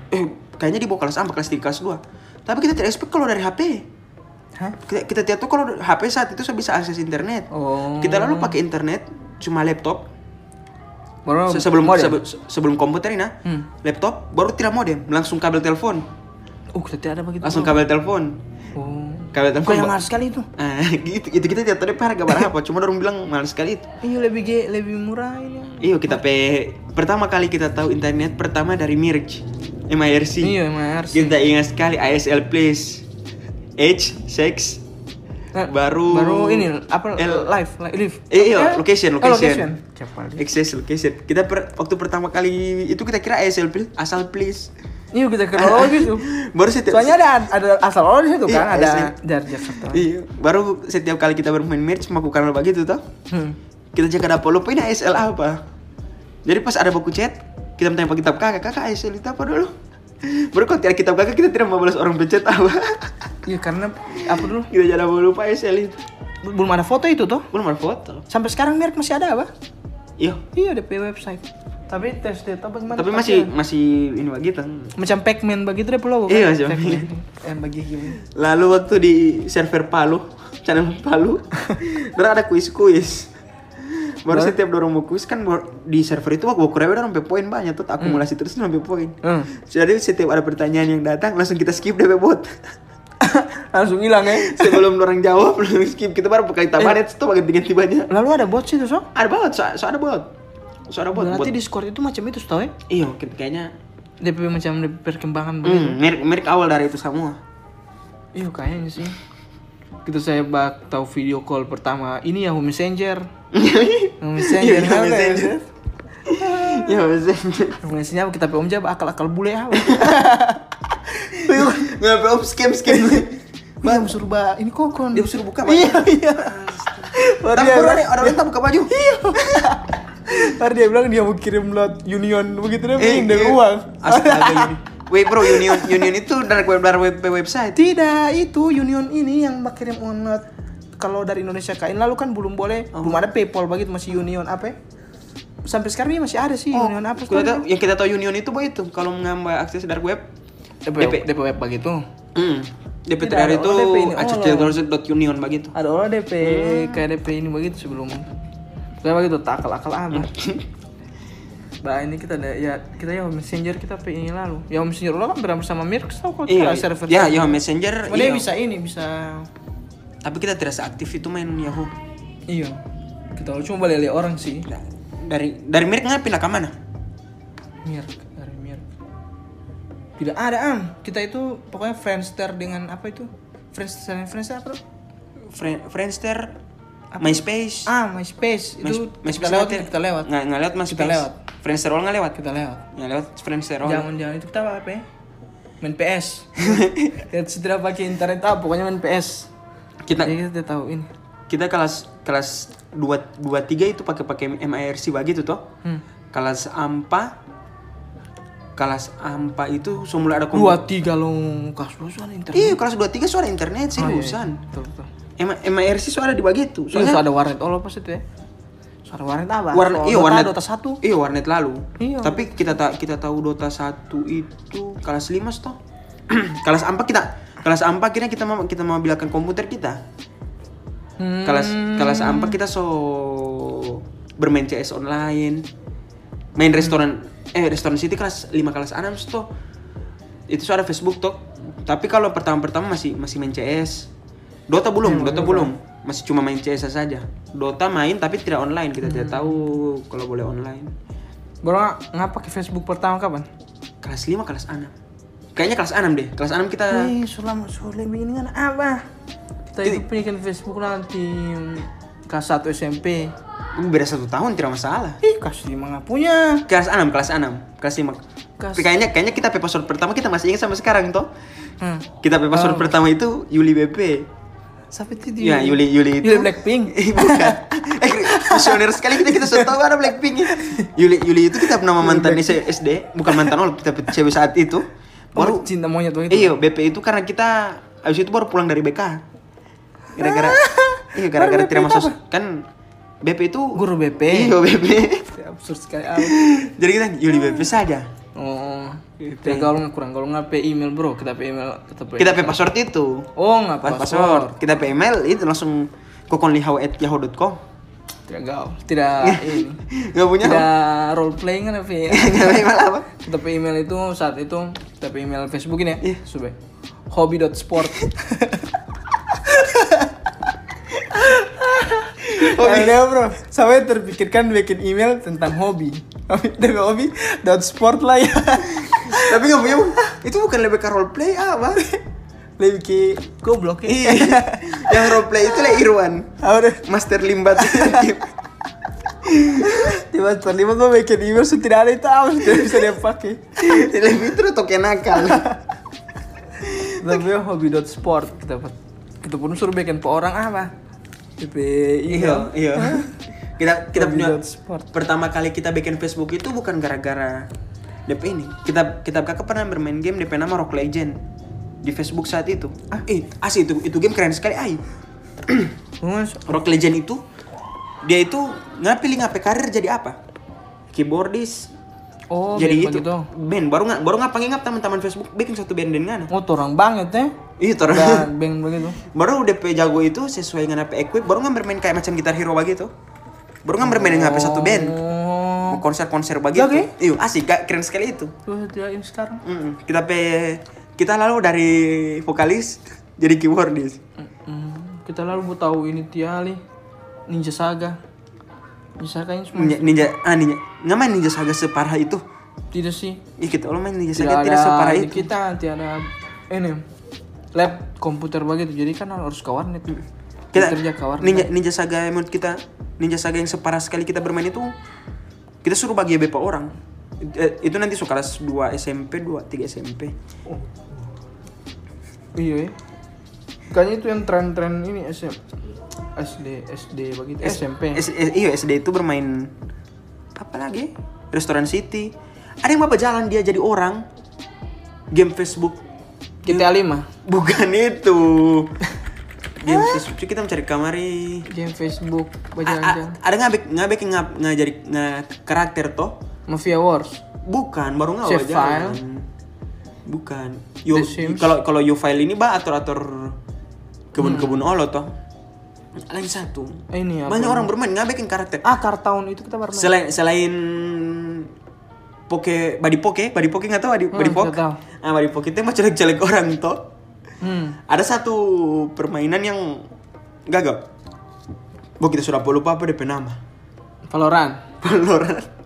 Speaker 2: eh kayaknya di bawah kelas ampa kelas 3 kelas 2. Tapi kita tidak expect kalau dari HP.
Speaker 1: Hah?
Speaker 2: Kita kita tidak tahu kalau HP saat itu sudah bisa akses internet.
Speaker 1: Oh.
Speaker 2: Kita lalu pakai internet cuma laptop
Speaker 1: Baru
Speaker 2: Se- sebelum
Speaker 1: Oh, modem.
Speaker 2: sebe- se- sebelum komputer ini nah,
Speaker 1: Hmm.
Speaker 2: laptop baru tidak modem langsung kabel telepon
Speaker 1: Uh, kita tidak ada begitu.
Speaker 2: langsung kabel telepon
Speaker 1: Oh.
Speaker 2: kabel
Speaker 1: Kok
Speaker 2: telepon
Speaker 1: yang
Speaker 2: ba-
Speaker 1: mahal sekali itu?
Speaker 2: Ah, gitu, gitu kita tiap tadi harga berapa? Cuma orang bilang mahal sekali itu.
Speaker 1: Iya lebih ge, lebih murah ini.
Speaker 2: Iya kita pe pertama kali kita tahu internet pertama dari Mirj, MIRC.
Speaker 1: Iya emang harus.
Speaker 2: Kita ingat sekali ISL please. H, sex,
Speaker 1: Nah,
Speaker 2: baru-
Speaker 1: baru ini apa
Speaker 2: L-
Speaker 1: live li- live.
Speaker 2: eh
Speaker 1: Eh,
Speaker 2: iya location
Speaker 1: eh,
Speaker 2: location.
Speaker 1: Siapa dia?
Speaker 2: Access location. Kita per- waktu pertama kali itu kita kira ISL please, asal please.
Speaker 1: Iya kita kenal gitu.
Speaker 2: Baru setiap
Speaker 1: Soalnya ada ada asal lo di situ
Speaker 2: Iya,
Speaker 1: kan ada
Speaker 2: asli.
Speaker 1: dari Jakarta.
Speaker 2: Iya, baru setiap kali kita bermain Mirj melakukan hal begitu toh.
Speaker 1: Hmm.
Speaker 2: kita cek ada apa lupa ini ASL apa jadi pas ada buku chat kita minta kitab kakak kakak ASL itu apa dulu baru kalau tidak kitab kakak kita tidak mau balas orang pencet apa
Speaker 1: Iya karena apa dulu
Speaker 2: kita jadi mau lupa ASL itu
Speaker 1: belum ada foto itu tuh.
Speaker 2: belum ada foto
Speaker 1: Sampai sekarang merek masih ada apa?
Speaker 2: iya
Speaker 1: Iya ada di website. Tapi tes data bagaimana?
Speaker 2: tapi masih
Speaker 1: pakaian?
Speaker 2: masih ini begitu
Speaker 1: macam Pacman begitu deh pulau.
Speaker 2: Iya, macam
Speaker 1: Pac-Man. Yang bagi gini.
Speaker 2: lalu waktu di server Palu channel Palu terus ada kuis kuis baru setiap dorong mau kuis kan baru- di server itu aku kurang orang sampai poin banyak tuh akumulasi terus sampai poin
Speaker 1: Hmm.
Speaker 2: jadi setiap ada pertanyaan yang datang langsung kita skip deh bot
Speaker 1: Langsung hilang ya.
Speaker 2: sebelum orang jawab langsung skip kita baru pakai
Speaker 1: Iya.
Speaker 2: tabanet itu pakai ganti banyak
Speaker 1: Lalu ada bot sih tuh, Sob.
Speaker 2: ada bot so, so ada bot so ada bot,
Speaker 1: Berarti
Speaker 2: bot.
Speaker 1: Discord itu macam itu tau ya?
Speaker 2: iya kita kayaknya
Speaker 1: DPP macam DPP perkembangan begitu.
Speaker 2: hmm, merek merek awal dari itu semua Hmm.
Speaker 1: Iya kayaknya sih. Gitu saya bak tahu video call pertama ini Yahoo Messenger. Yahoo Messenger.
Speaker 2: Iya, Yahoo
Speaker 1: apa ya?
Speaker 2: Messenger. ya maksudnya
Speaker 1: Yahoo Messenger apa kita pe om jawab akal-akal bule apa?
Speaker 2: nggak om scam scam
Speaker 1: Iya, om suruh ba ini kokon.
Speaker 2: dia suruh buka baju
Speaker 1: Iya, iya. Baru
Speaker 2: tapi
Speaker 1: dia
Speaker 2: orang
Speaker 1: bilang-
Speaker 2: orang minta buka baju iya
Speaker 1: Ntar dia bilang dia mau kirim lot union begitu dia
Speaker 2: eh
Speaker 1: pengen dari uang.
Speaker 2: astaga ini Wait bro, Union Union itu dark web dark web website.
Speaker 1: Tidak, itu union ini yang mau kirim uang lot. Kalau dari Indonesia kain lalu kan belum boleh,
Speaker 2: Oh.
Speaker 1: belum ada PayPal begitu masih union apa? ya? Sampai sekarang ini masih ada sih Iya,
Speaker 2: Oh.
Speaker 1: union apa?
Speaker 2: kita tahu- yang kita tahu Union itu boy itu kalau mengambil akses dark web, DP.
Speaker 1: DP web begitu.
Speaker 2: hmm, DP
Speaker 1: Tidak ada oh,
Speaker 2: terakhir itu
Speaker 1: orang DP ini,
Speaker 2: akses
Speaker 1: orang.
Speaker 2: dark web dot union begitu.
Speaker 1: Ada orang DP kayak DP ini begitu sebelum. Saya begitu tak akal akal apa? Bah ini kita ada ya kita ya messenger kita pe ini lalu. Ya messenger lo kan bersama sama Mirk tau kalau salah
Speaker 2: Iya,
Speaker 1: server.
Speaker 2: ya, ya Messenger.
Speaker 1: Cuma dia
Speaker 2: iya.
Speaker 1: bisa ini bisa
Speaker 2: Tapi kita tidak seaktif itu main Yahoo.
Speaker 1: Iya. Kita tahu cuma balik orang sih.
Speaker 2: Nah, dari dari mirip nggak pindah ke mana?
Speaker 1: Mir, dari Mir. Tidak ada am. Kita itu pokoknya Friendster dengan apa itu? Friendster, Friendster apa?
Speaker 2: Fri- Friendster, MySpace.
Speaker 1: Ah, MySpace
Speaker 2: Mys-
Speaker 1: itu
Speaker 2: MySpace
Speaker 1: kita lewat,
Speaker 2: ya?
Speaker 1: kita lewat,
Speaker 2: Nggak nggak lewat MySpace.
Speaker 1: lewat.
Speaker 2: Friendster all nggak lewat.
Speaker 1: kita lewat.
Speaker 2: Nggak lewat Friendster all.
Speaker 1: Jangan-jangan itu kita apa ya? Main PS. Kita tidak pakai internet apa, pokoknya main PS.
Speaker 2: Kita
Speaker 1: Jadi kita tidak tahu ini.
Speaker 2: kita kelas kelas 2 dua tiga itu pakai pakai MIRC bagi itu toh.
Speaker 1: Hmm.
Speaker 2: Kelas ampa kelas ampa itu semula ada
Speaker 1: Dua
Speaker 2: komputer.
Speaker 1: tiga longkas lusuan internet.
Speaker 2: Iya, kelas 2 3 suara
Speaker 1: Oh, iya,
Speaker 2: internet
Speaker 1: iya.
Speaker 2: seriusan.
Speaker 1: Betul, betul.
Speaker 2: Em- MIRC suara di bagi itu.
Speaker 1: Soalnya
Speaker 2: Soalnya
Speaker 1: ada warnet all apa sih itu ya? Suara warnet apa?
Speaker 2: warnet
Speaker 1: Soal
Speaker 2: iya
Speaker 1: oh, Dota,
Speaker 2: warnet
Speaker 1: Dota satu.
Speaker 2: Iya, warnet lalu.
Speaker 1: Iya.
Speaker 2: Tapi kita ta- kita tahu Dota 1 itu kelas 5 toh. kelas ampa kita kelas ampa akhirnya kita mau kita mau bilangkan komputer kita.
Speaker 1: Hmm.
Speaker 2: kelas kelas ampa kita so bermain CS online main restoran eh restoran city kelas 5 kelas 6 tuh itu so ada Facebook tuh tapi kalau pertama-pertama masih masih main CS Dota belum Dota belum masih cuma main CS saja Dota main tapi tidak online kita tidak tahu kalau boleh online
Speaker 1: Bro, nga- ngapa ke Facebook pertama kapan?
Speaker 2: kelas 5 kelas 6 kayaknya kelas 6 deh kelas 6 kita
Speaker 1: Eh, sulam sulam ini kan apa? Kita itu punya Facebook nanti kelas 1 SMP.
Speaker 2: beda satu tahun tidak masalah
Speaker 1: Ih, kasih lima nggak punya.
Speaker 2: kelas 6 kelas 6 kelas
Speaker 1: Kelas-
Speaker 2: 5 kayaknya kayaknya kita episode pertama kita masih ingat sama sekarang toh
Speaker 1: Hmm.
Speaker 2: kita episode pertama itu Yuli BP
Speaker 1: Siapa itu dia?
Speaker 2: ya Yuli Yuli itu
Speaker 1: Yuli Blackpink.
Speaker 2: Eh, bukan eh visioner sekali kita kita sudah tahu ada Blackpink ya. Yuli Yuli itu kita pernah mantan SD bukan mantan oh kita cewek saat itu
Speaker 1: Baru
Speaker 2: baru
Speaker 1: Oh, cinta monyet waktu itu.
Speaker 2: iya BP itu karena kita abis itu baru pulang dari BK gara-gara iya gara-gara
Speaker 1: Ah. Baru BP
Speaker 2: tidak
Speaker 1: itu
Speaker 2: masuk kan BP itu
Speaker 1: Guru BP.
Speaker 2: iya BP
Speaker 1: Absurd sekali. ah.
Speaker 2: jadi kita Yuli BP saja
Speaker 1: Oh, kita gaul kurang gaul nggak pe email bro, kita pe email kita pe.
Speaker 2: Gitu. kita pakai password itu
Speaker 1: Oh nggak
Speaker 2: pas
Speaker 1: password.
Speaker 2: password kita PML itu langsung kokonlihau@yahoo.com
Speaker 1: Tidak gaul, tidak ini.
Speaker 2: nggak Iya. punya
Speaker 1: Tidak role playing kan pe.
Speaker 2: nggak PML apa
Speaker 1: Kita pe email itu saat itu kita pe email Facebook ini ya. Sube. Hobby.sport. Hobi. bro, sampai terpikirkan bikin email tentang hobi. Hobi, hobi, dot sport lah ya.
Speaker 2: tapi nggak punya itu bukan lebih ke role play apa
Speaker 1: Lebih ke goblok ya.
Speaker 2: iya yang role play itu lah Irwan
Speaker 1: Apa deh?
Speaker 2: master limbat
Speaker 1: Tiba terlibat gue bikin email sudah tidak ada itu apa sudah bisa dia pakai.
Speaker 2: lebih itu udah token nakal
Speaker 1: Tapi hobi dot sport kita dapat. Kita pun suruh bikin pe orang apa? Tipe email.
Speaker 2: iya iya kita kita punya
Speaker 1: Hobi dot sport.
Speaker 2: pertama kali kita bikin Facebook itu bukan gara-gara DP ini kita kita kakak pernah bermain game DP nama Rock Legend di Facebook saat itu ah eh asli itu itu game keren sekali ay
Speaker 1: Mas,
Speaker 2: Rock Legend itu dia itu nggak pilih ngapain karir jadi apa keyboardis
Speaker 1: Oh,
Speaker 2: jadi
Speaker 1: biar
Speaker 2: itu
Speaker 1: begitu.
Speaker 2: band baru nggak baru nggak pengingap teman-teman Facebook bikin satu band dan ngana
Speaker 1: Oh, torang banget ya.
Speaker 2: iya tor
Speaker 1: Dan bang begitu.
Speaker 2: baru udah pe jago itu sesuai dengan apa equip baru nggak bermain kayak macam gitar hero begitu baru nggak bermain dengan HP satu band
Speaker 1: Oh.
Speaker 2: mau konser-konser begitu
Speaker 1: Oke.
Speaker 2: iya asik gak keren sekali itu
Speaker 1: Tuh dia ini sekarang.
Speaker 2: Mm-mm. kita pe kita lalu dari vokalis jadi keyboardis
Speaker 1: Mm-mm. Kita lalu mau tahu ini Tiali Ninja Saga. Ninja Saga ini semua
Speaker 2: ninja, ninja ah ninja nggak main ninja saga separah itu
Speaker 1: tidak sih.
Speaker 2: Ih kita lo main ninja
Speaker 1: Tidak,
Speaker 2: saga tidak separah
Speaker 1: ada
Speaker 2: itu
Speaker 1: di kita tiada ini lab komputer begitu. Jadi kan harus ke warnet.
Speaker 2: kita
Speaker 1: Kita kerja ke warnet.
Speaker 2: ninja ninja saga yang menurut kita ninja saga yang separah sekali kita bermain itu kita suruh bagi BP orang Eh, itu nanti so kelas 2 SMP 2 3 SMP
Speaker 1: Iya. ya. Kayaknya itu yang tren-tren ini SM SD SD begitu SMP.
Speaker 2: S- eh, iya SD itu bermain apa lagi restoran city ada yang bapak jalan dia jadi orang game Facebook
Speaker 1: GTA 5.
Speaker 2: bukan itu game Facebook Cuy, kita mencari kamari
Speaker 1: Game Facebook
Speaker 2: A- a-
Speaker 1: bajalan
Speaker 2: ada ngabek ngabek ngab ngajari nga- karakter toh
Speaker 1: Mafia Wars.
Speaker 2: Bukan, baru nggak
Speaker 1: Save
Speaker 2: wajar.
Speaker 1: file.
Speaker 2: Bukan. Yo,
Speaker 1: The Sims.
Speaker 2: kalau kalau you file ini bah atur atur kebun-kebun Allah toh. Lain satu.
Speaker 1: Hmm. Eh, Ini apa?
Speaker 2: Banyak orang bermain nggak bikin karakter.
Speaker 1: Ah, Kartown itu kita pernah.
Speaker 2: Selain selain poke body poke body poke nggak tahu body, body poke
Speaker 1: Hmm, nggak tahu.
Speaker 2: ah body poke itu mah celek celek orang toh
Speaker 1: Hmm.
Speaker 2: ada satu permainan yang gagal Bu kita sudah lupa apa DP nama.
Speaker 1: Valorant.
Speaker 2: Valorant.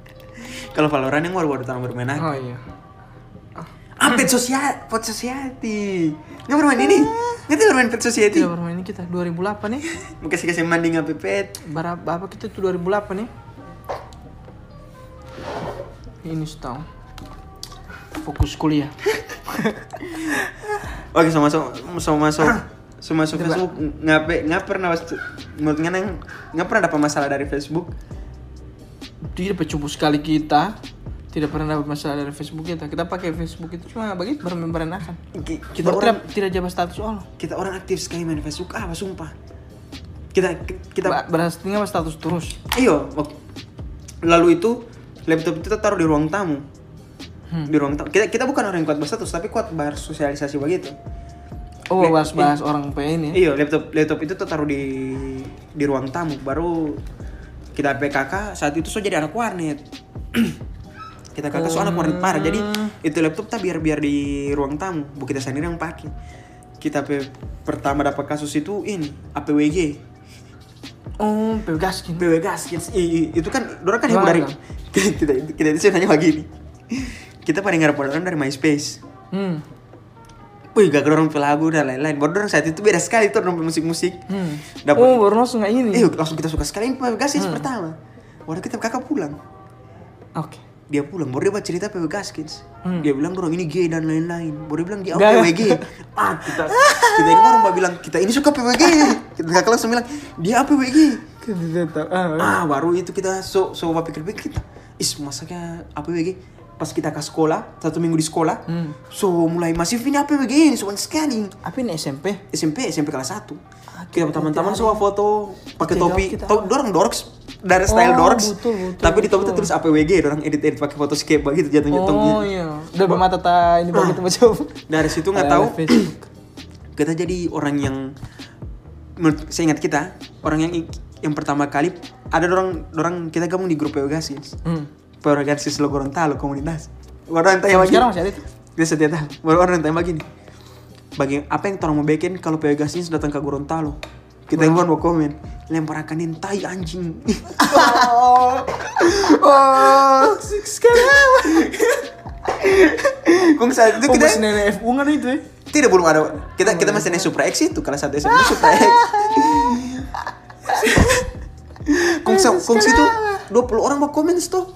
Speaker 2: Kalau Valorant yang baru-baru tahun bermain
Speaker 1: Oh
Speaker 2: aja.
Speaker 1: iya.
Speaker 2: Ah, Pet Society, Pet Society. Nggak bermain ini. Nggak tahu bermain Pet Society.
Speaker 1: Tidak bermain ini kita 2008 nih.
Speaker 2: Mau kasih kasih manding apa Pet?
Speaker 1: Berapa apa kita tuh 2008 nih? Ini setahun. Fokus kuliah.
Speaker 2: Oke, sama sama sama sama sama masuk Facebook ngape nggak pernah was- menurut Ngana nggak pernah dapat masalah dari Facebook
Speaker 1: Tidak pecubu sekali kita. Tidak pernah dapat masalah dari Facebook kita. Kita pakai Facebook itu cuma bagi bermembranakan.
Speaker 2: Ki-
Speaker 1: Kita
Speaker 2: kita orang
Speaker 1: tidak tidak jabat status Allah.
Speaker 2: kita orang aktif sekali main Facebook ah sumpah kita
Speaker 1: Kita
Speaker 2: kita
Speaker 1: berhasilnya sama status terus.
Speaker 2: Iya, wak- lalu itu laptop itu kita taruh di ruang tamu. Di ruang tamu. Kita kita bukan orang yang kuat berstatus, tapi kuat bersosialisasi begitu.
Speaker 1: Oh,
Speaker 2: Le-
Speaker 1: bahas-bahas orang PN ya.
Speaker 2: Iya, laptop laptop itu tuh taruh di di ruang tamu. Baru kita PKK saat itu so jadi anak warnet. kita kakak so anak warnet parah. Jadi itu laptop tak biar biar di ruang tamu. Bu kita sendiri yang pakai. Kita pe- pertama dapat kasus itu ini APWG.
Speaker 1: Oh, pegaskin.
Speaker 2: BW gas kids. I- i- itu kan orang kan heboh
Speaker 1: Gimana?
Speaker 2: dari kita kita itu nanya begini kita paling ngarep orang dari MySpace
Speaker 1: Hmm.
Speaker 2: Wih, gak orang lagu dan lain-lain. Baru orang saat itu beda sekali tuh orang musik-musik.
Speaker 1: Hmm.
Speaker 2: Dapat,
Speaker 1: Oh, baru langsung kayak ini.
Speaker 2: eh, langsung kita suka sekali ini BW gas kids pertama. Waduh kita kakak pulang.
Speaker 1: Oke.
Speaker 2: Dia pulang, baru dia baca cerita PW Gaskins. Dia bilang orang ini gay dan lain-lain. Baru dia bilang dia
Speaker 1: Gak.
Speaker 2: APWG. Ah, kita kita ini orang mau bilang kita ini suka PWG. Kita kakak langsung bilang dia APWG.
Speaker 1: Kita tahu. Ah,
Speaker 2: Ah, baru itu kita so so pikir-pikir kita. Is masaknya APBG pas kita ke sekolah, satu minggu di sekolah. So mulai masif ini APBG ini soal sekali.
Speaker 1: apa ini SMP?
Speaker 2: SMP, SMP kelas 1.
Speaker 1: Oke,
Speaker 2: Kita teman-teman semua foto
Speaker 1: Ah, gitu. Kita
Speaker 2: pakai
Speaker 1: jawab,
Speaker 2: topi.
Speaker 1: kita-
Speaker 2: To dorong dorks dari style
Speaker 1: Oh,
Speaker 2: dorks.
Speaker 1: betul, betul,
Speaker 2: Tapi di topi
Speaker 1: betul.
Speaker 2: itu tulis APWG, dorong edit-edit pakai gitu photoscape begitu jatuh-jatuh.
Speaker 1: Oh iya. Udah bermata ta ini baru kita macam.
Speaker 2: Dari situ Ah. nggak
Speaker 1: Ada
Speaker 2: tahu
Speaker 1: Facebook.
Speaker 2: kita jadi orang yang menurut saya ingat kita orang yang yang pertama kali ada orang orang kita gabung di grup Pegasus.
Speaker 1: Hmm.
Speaker 2: Pegasus lo Gorontalo komunitas. ya, Orang yang tanya lagi.
Speaker 1: Sekarang masih ada itu.
Speaker 2: Dia setiap tahun. Baru orang yang tanya begini. Bagi apa yang orang mau bikin kalau Pegasus datang ke Gorontalo? Kita yang mau komen. Lempar akanin tai anjing. oh. oh. Sekarang. Kung saat itu
Speaker 1: Itu kita
Speaker 2: kita
Speaker 1: Oh, nenek FU kan itu ya.
Speaker 2: tidak belum ada. Kita kita masih naik Supra X itu kelas satu SMA Supra X. Kung sa- kung situ 20 orang mau komen tuh.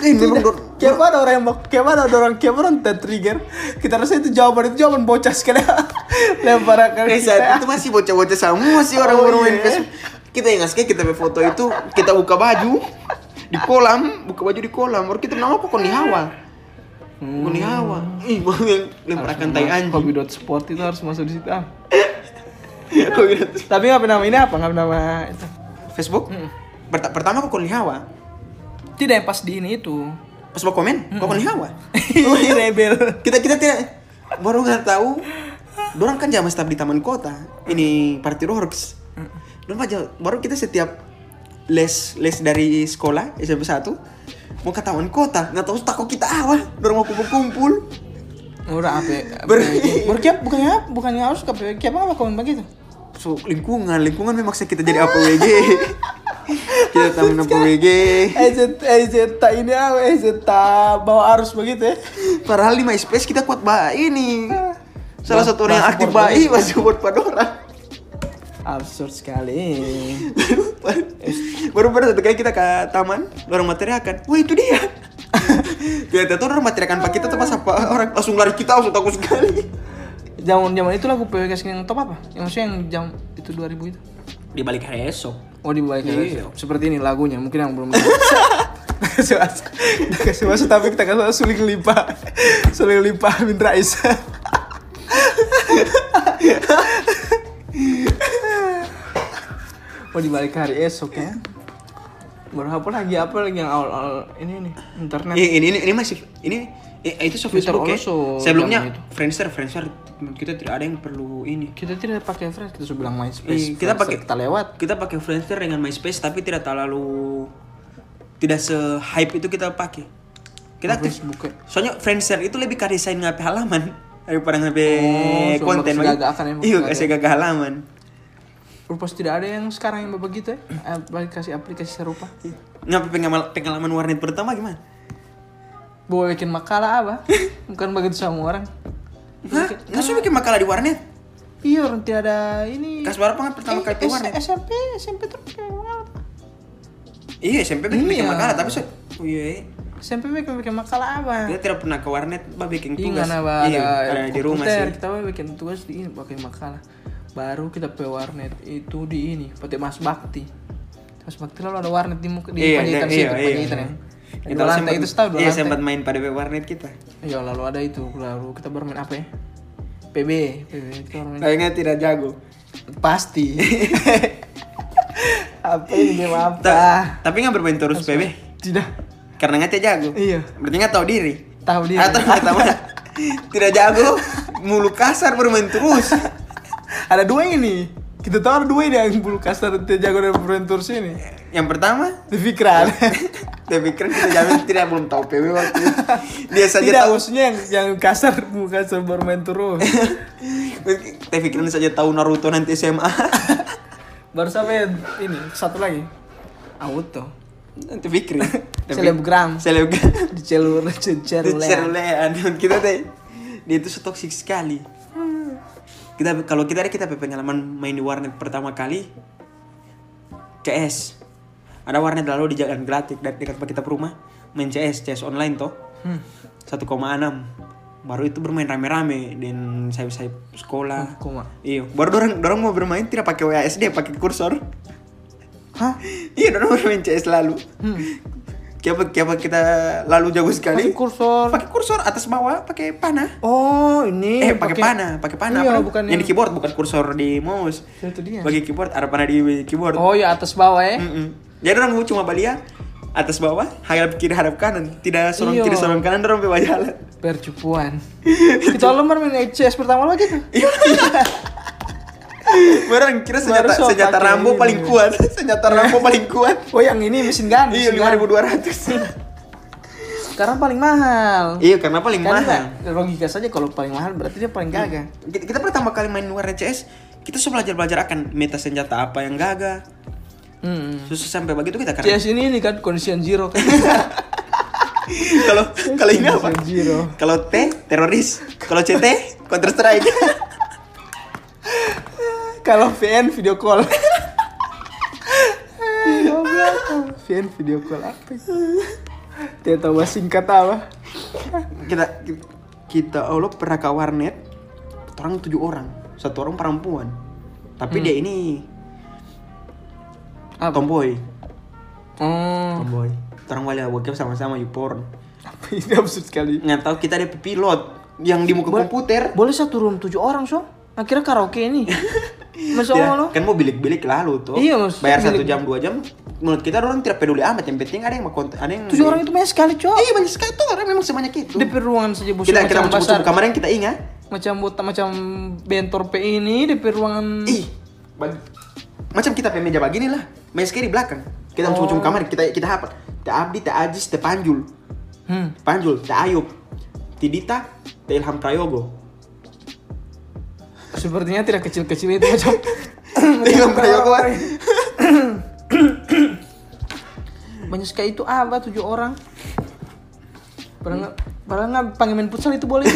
Speaker 2: Eh, memang dor-
Speaker 1: Kayak mana orang yang bak- kayak mana ada orang kayak mana orang tertrigger. Kita rasa itu jawaban itu jawaban bocah sekali. Lempar akan
Speaker 2: Eh, saat itu masih bocah-bocah semua sih orang
Speaker 1: Iya. Oh,
Speaker 2: baru main
Speaker 1: iya.
Speaker 2: Facebook. Kita yang ngasih kita ambil foto itu, kita buka baju di kolam, buka baju di kolam. Baru kita nama apa konihawa.
Speaker 1: Hmm,
Speaker 2: Konihawa. Ih, baru yang lemparakan tai anjing.
Speaker 1: Hobi.sport itu harus masuk di situ. Ah.
Speaker 2: Kau bilang,
Speaker 1: Tapi nggak nama ini apa? Nggak nama itu.
Speaker 2: Facebook? Pert- Pertama aku konihawa.
Speaker 1: Tidak yang pas di ini itu.
Speaker 2: Pas mau komen, kau Oh, konihawa. iya.
Speaker 1: Ini rebel.
Speaker 2: kita kita tidak baru nggak tahu dorang kan jam staf di taman kota ini party works dorang aja baru kita setiap les les dari sekolah SMP 1 mau ke taman kota nggak tahu takut kita awal dorang mau kumpul-kumpul
Speaker 1: Murah apa? ya?
Speaker 2: Ber-
Speaker 1: Berkiap bukannya bukannya harus ke kiap apa komen begitu?
Speaker 2: so lingkungan lingkungan memaksa kita jadi APWG kita taman APWG
Speaker 1: EZ EZ tak ini apa? EZ tak bawa arus begitu ya?
Speaker 2: padahal di MySpace kita kuat bah ini salah satu orang yang
Speaker 1: Bah-
Speaker 2: aktif
Speaker 1: bah-
Speaker 2: bah masih buat padora
Speaker 1: Absurd sekali.
Speaker 2: baru baru satu kali kita ke taman orang materi akan wah itu dia kita tuh orang materi akan pak kita tuh pas apa orang langsung lari kita langsung takut sekali
Speaker 1: Zaman zaman itu lagu PWK yang top apa? Yang maksudnya yang jam itu 2000 itu?
Speaker 2: di balik hari esok
Speaker 1: Oh di balik
Speaker 2: Iya.
Speaker 1: Seperti ini lagunya mungkin yang belum. Kasih masuk, kita kasih masuk tapi kita kasih masuk suling lipa, suling lipa Amin Rais. Oh di balik hari esok ya. Baru apa lagi apa lagi yang awal-awal ini nih internet.
Speaker 2: Nah. ini ini ini masih ini eh, itu so
Speaker 1: Twitter
Speaker 2: Facebook ya
Speaker 1: also
Speaker 2: sebelumnya
Speaker 1: zaman itu.
Speaker 2: Friendster Friendster menurut kita tidak ada yang perlu ini
Speaker 1: Kita tidak pakai friends, kita sudah bilang
Speaker 2: Eh,
Speaker 1: MySpace.
Speaker 2: kita
Speaker 1: Friendster,
Speaker 2: pakai
Speaker 1: Iya, kita lewat.
Speaker 2: kita pakai Friendster dengan MySpace tapi tidak terlalu tidak se hype itu kita pakai kita aktif
Speaker 1: Facebook ya.
Speaker 2: Soalnya Friendster itu lebih ke desain ngapain halaman daripada ngapain
Speaker 1: Oh, so
Speaker 2: konten.
Speaker 1: maksudnya agak akan ya, maksudnya
Speaker 2: Iya,
Speaker 1: agak.
Speaker 2: kasih gagah halaman.
Speaker 1: Purpose tidak ada yang sekarang yang begitu ya aplikasi-aplikasi serupa.
Speaker 2: Ngapa pengalaman, pengalaman warnet pertama gimana?
Speaker 1: Bawa bikin makalah apa? Bukan begitu sama orang.
Speaker 2: Hah? Nggak suka bikin makalah di warnet?
Speaker 1: Iya orang tidak ada ini.
Speaker 2: Kas berapa kan pertama
Speaker 1: Eh,
Speaker 2: kali keluar nih?
Speaker 1: S- SMP SMP terus kayak makalah.
Speaker 2: Iya SMP bikin, bikin
Speaker 1: Iya.
Speaker 2: makalah tapi so, oh iya, iya.
Speaker 1: SMP bikin bikin makalah apa?
Speaker 2: kita tidak pernah ke warnet bah bikin tugas. Iya,
Speaker 1: Ingat apa ada,
Speaker 2: ada di rumah
Speaker 1: komputer,
Speaker 2: sih.
Speaker 1: Kita mah bikin tugas di ini pakai makalah. Baru kita ke warnet itu di ini PT Mas Bakti. Mas Bakti lalu ada warnet di muka di
Speaker 2: Iya,
Speaker 1: Panjaitan situ, Panjaitan ya. Di
Speaker 2: Kita
Speaker 1: dua lantai
Speaker 2: sempat-
Speaker 1: itu setahu dua
Speaker 2: Iya
Speaker 1: lantai.
Speaker 2: sempat main pada warnet kita.
Speaker 1: Iya lalu ada itu lalu kita bermain apa ya? PB, PB kita bermain.
Speaker 2: Kayaknya tidak jago.
Speaker 1: Pasti. apa ini game
Speaker 2: Ta-
Speaker 1: apa?
Speaker 2: Tapi nggak bermain terus PB
Speaker 1: Tidak.
Speaker 2: karena nggak tidak jago.
Speaker 1: Iya.
Speaker 2: Berarti nggak tahu diri.
Speaker 1: Tahu dia.
Speaker 2: Atau nggak tahu tidak jago, mulu kasar bermain terus.
Speaker 1: ada dua ini. Kita tahu ada dua ini yang bulu kasar tidak jago dari Ventur sini.
Speaker 2: Yang pertama
Speaker 1: Di Fikran.
Speaker 2: Dia pikir kita jamin tidak belum tahu PB waktu itu. Dia saja
Speaker 1: Tidak
Speaker 2: tahu.
Speaker 1: maksudnya yang yang kasar bulu kasar bermain terus.
Speaker 2: Dia pikirin saja tahu Naruto nanti SMA.
Speaker 1: Baru sampai ini satu lagi. Auto.
Speaker 2: nanti pikirin.
Speaker 1: Selebgram.
Speaker 2: Selebgram.
Speaker 1: Di celur cecer
Speaker 2: Itu cerulean. Kita teh dia itu so toksik sekali. Kita kalau kita kita punya pengalaman main di warnet pertama kali CS. Ada warnet lalu di Jalan Gelatik dan dekat kita rumah main CS, CS online toh.
Speaker 1: Hmm.
Speaker 2: 1,6 baru itu bermain rame-rame dan sayap-sayap sekolah
Speaker 1: Oh, Koma.
Speaker 2: Iya, baru dorong dorong mau bermain tidak pakai WASD, pakai kursor.
Speaker 1: Hah?
Speaker 2: Iya, dorong bermain CS lalu.
Speaker 1: Hmm,
Speaker 2: Kenapa kenapa kita lalu jago sekali?
Speaker 1: Pakai kursor.
Speaker 2: Pakai kursor atas bawah, pakai panah.
Speaker 1: Oh ini.
Speaker 2: Eh, pakai panah, pakai panah.
Speaker 1: Iya,
Speaker 2: apa?
Speaker 1: bukan
Speaker 2: yang
Speaker 1: yang-
Speaker 2: di keyboard, bukan kursor di mouse.
Speaker 1: Itu dia.
Speaker 2: Bagi keyboard, ada panah di keyboard.
Speaker 1: Oh ya atas bawah ya.
Speaker 2: Mm-mm. Jadi orang cuma balia atas bawah, harap kiri harap kanan, tidak sorong
Speaker 1: Iya.
Speaker 2: kiri sorong kanan, dorong bebas jalan.
Speaker 1: Percupuan. Kita lemar main CS pertama lagi tuh.
Speaker 2: Orang kira senjata
Speaker 1: Baru so
Speaker 2: senjata
Speaker 1: pakai
Speaker 2: Rambo
Speaker 1: ini. Iya.
Speaker 2: paling kuat, senjata Rambo paling kuat.
Speaker 1: Oh yang ini mesin gun.
Speaker 2: Iya,
Speaker 1: mesin gun.
Speaker 2: 5200.
Speaker 1: Sekarang paling mahal.
Speaker 2: Iya karena paling
Speaker 1: Kan
Speaker 2: mahal.
Speaker 1: nggak- logika saja kalau paling mahal berarti dia paling gagah.
Speaker 2: Kita, kita pertama kali main warnet CS, kita sudah belajar belajar akan meta senjata apa yang gagah.
Speaker 1: Hmm.
Speaker 2: Terus sampai begitu kita keren.
Speaker 1: CS ini ini kan condition zero kan.
Speaker 2: Kalau kalau ini apa?
Speaker 1: Condition zero.
Speaker 2: Kalau T teroris, kalau CT counter strike.
Speaker 1: Kalau VN video call. Eh, goblok. VN video call apa? Tidak tahu bahasa singkat apa.
Speaker 2: kita kita Allah pernah ke warnet, orang tujuh orang, satu orang perempuan. Tapi dia ini
Speaker 1: Hmm. Apa?
Speaker 2: tomboy.
Speaker 1: Oh,
Speaker 2: Tomboy. Orang wali bokep sama-sama YouPorn.
Speaker 1: apa ini absurd sekali.
Speaker 2: Nggak tahu kita ada pilot yang di muka
Speaker 1: Boleh-
Speaker 2: komputer.
Speaker 1: Boleh satu room tujuh orang, so? Akhirnya karaoke ini. Masya
Speaker 2: Ya,
Speaker 1: Allah lo.
Speaker 2: Kan mau bilik-bilik lalu tuh.
Speaker 1: Iya, maksudnya
Speaker 2: Bayar satu
Speaker 1: bilik-
Speaker 2: jam dua jam. Menurut kita orang tidak peduli amat. Yang penting ada yang mau kont- ada yang.
Speaker 1: Tujuh orang itu banyak sekali, cok.
Speaker 2: Iya banyak sekali tuh orang memang sebanyak itu.
Speaker 1: Di ruangan saja busuk
Speaker 2: kita kita
Speaker 1: macam
Speaker 2: mau
Speaker 1: pasar.
Speaker 2: cukup kamar yang kita ingat.
Speaker 1: Macam buta, macam bentor P ini di ruangan.
Speaker 2: Ih, bag- macam kita pengen meja begini lah. Meja sekali di belakang.
Speaker 1: Oh.
Speaker 2: Kita mau cukup kamar kita kita apa? Tak Abdi, tak Ajis, tak Panjul,
Speaker 1: Hmm.
Speaker 2: Panjul, tak Ayub, Tidita, tak Ilham Prayogo.
Speaker 1: Sepertinya tidak kecil-kecil itu macam
Speaker 2: Tak Ilham Prayogo.
Speaker 1: eh. banyak sekali itu apa tujuh orang. Padahal nggak- padahal nggak panggil main futsal itu boleh.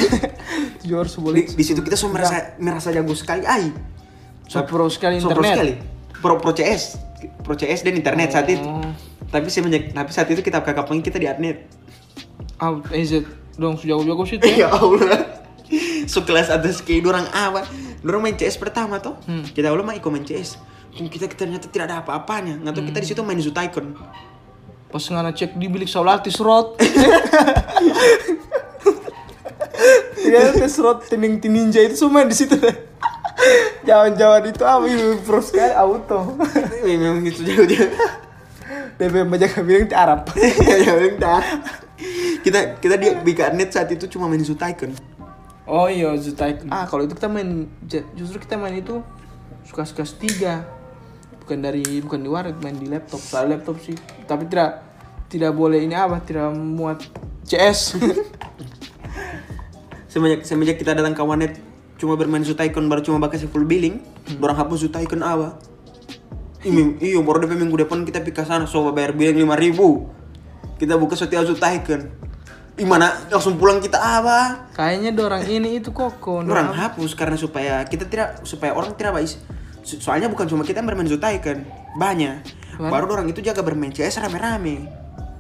Speaker 1: tujuh orang
Speaker 2: Di,
Speaker 1: boleh.
Speaker 2: eh. di situ kita semua merasa merasa jago sekali. Ai,
Speaker 1: So pro sekali
Speaker 2: So, pro
Speaker 1: internet.
Speaker 2: sekali. Pro pro CS, pro CS dan internet saat itu.
Speaker 1: Oh.
Speaker 2: Tapi saya tapi saat itu kita kakak pengen kita di adnet.
Speaker 1: Ah, EZ dong sejauh-jauh sih tuh.
Speaker 2: Ya Allah. So kelas atas kayak dorang apa? Dorang main CS pertama toh. Kita ulang mah ikut main CS. Kung Kita, kita ternyata tidak ada apa-apanya. Nggak tahu kita di situ main Zutaikon.
Speaker 1: Pas ngana cek di bilik Saulatis rot. Iya, tes rot tining tininja itu semua di situ. Jawan-jawan itu apa ibu pro sekali auto.
Speaker 2: Memang itu jauh-jauh.
Speaker 1: DP menjaga bilang di Arab.
Speaker 2: Jauh ya, bentar. Kita kita di di adnet saat itu cuma main Zutaikon.
Speaker 1: Oh iya, Zutaik. Ah, kalau itu kita main ju- justru kita main itu suka-suka tiga. Bukan dari bukan di warnet, main di laptop. Soal laptop sih. Tapi tidak tidak boleh ini apa? Tidak muat CS.
Speaker 2: semenjak semenjak kita datang ke Wanet cuma bermain Zutaikon baru cuma bakal full billing dorang hapus Zutaikon awa Ini- Iya, baru DP minggu depan kita pergi ke sana coba bayar biaya lima ribu. Kita buka setiazu Taiken. Gimana? Langsung pulang kita apa?
Speaker 1: Kayaknya dorang ini itu koko.
Speaker 2: Orang hapus karena supaya kita tidak supaya orang tidak bais. So- Soalnya bukan cuma kita yang bermain Zutaiken, banyak.
Speaker 1: Mana?
Speaker 2: Baru orang itu jaga bermain CS rame-rame.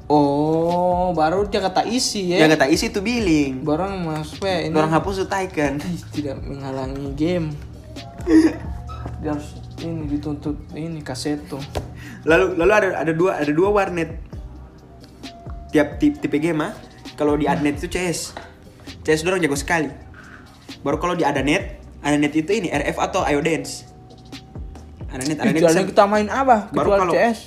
Speaker 1: Oh, baru dia kata isi ya.
Speaker 2: Jaga tak isi itu billing.
Speaker 1: Barang Mas P ini
Speaker 2: Orang hapus Zutaiken.
Speaker 1: Ih, tidak menghalangi game. dia harus ini dituntut ini kaseto.
Speaker 2: Lalu lalu ada ada dua ada dua warnet. Tiap tip, tipe game ah. Kalau di adnet itu CS. CS dorong jago sekali. Baru kalau di adanet, adanet itu ini RF atau Iodance. Adanet,
Speaker 1: Ih,
Speaker 2: adanet.
Speaker 1: Jualan
Speaker 2: bisa-
Speaker 1: kita main apa?
Speaker 2: Nah, baru
Speaker 1: Kecuali
Speaker 2: kalau
Speaker 1: CS.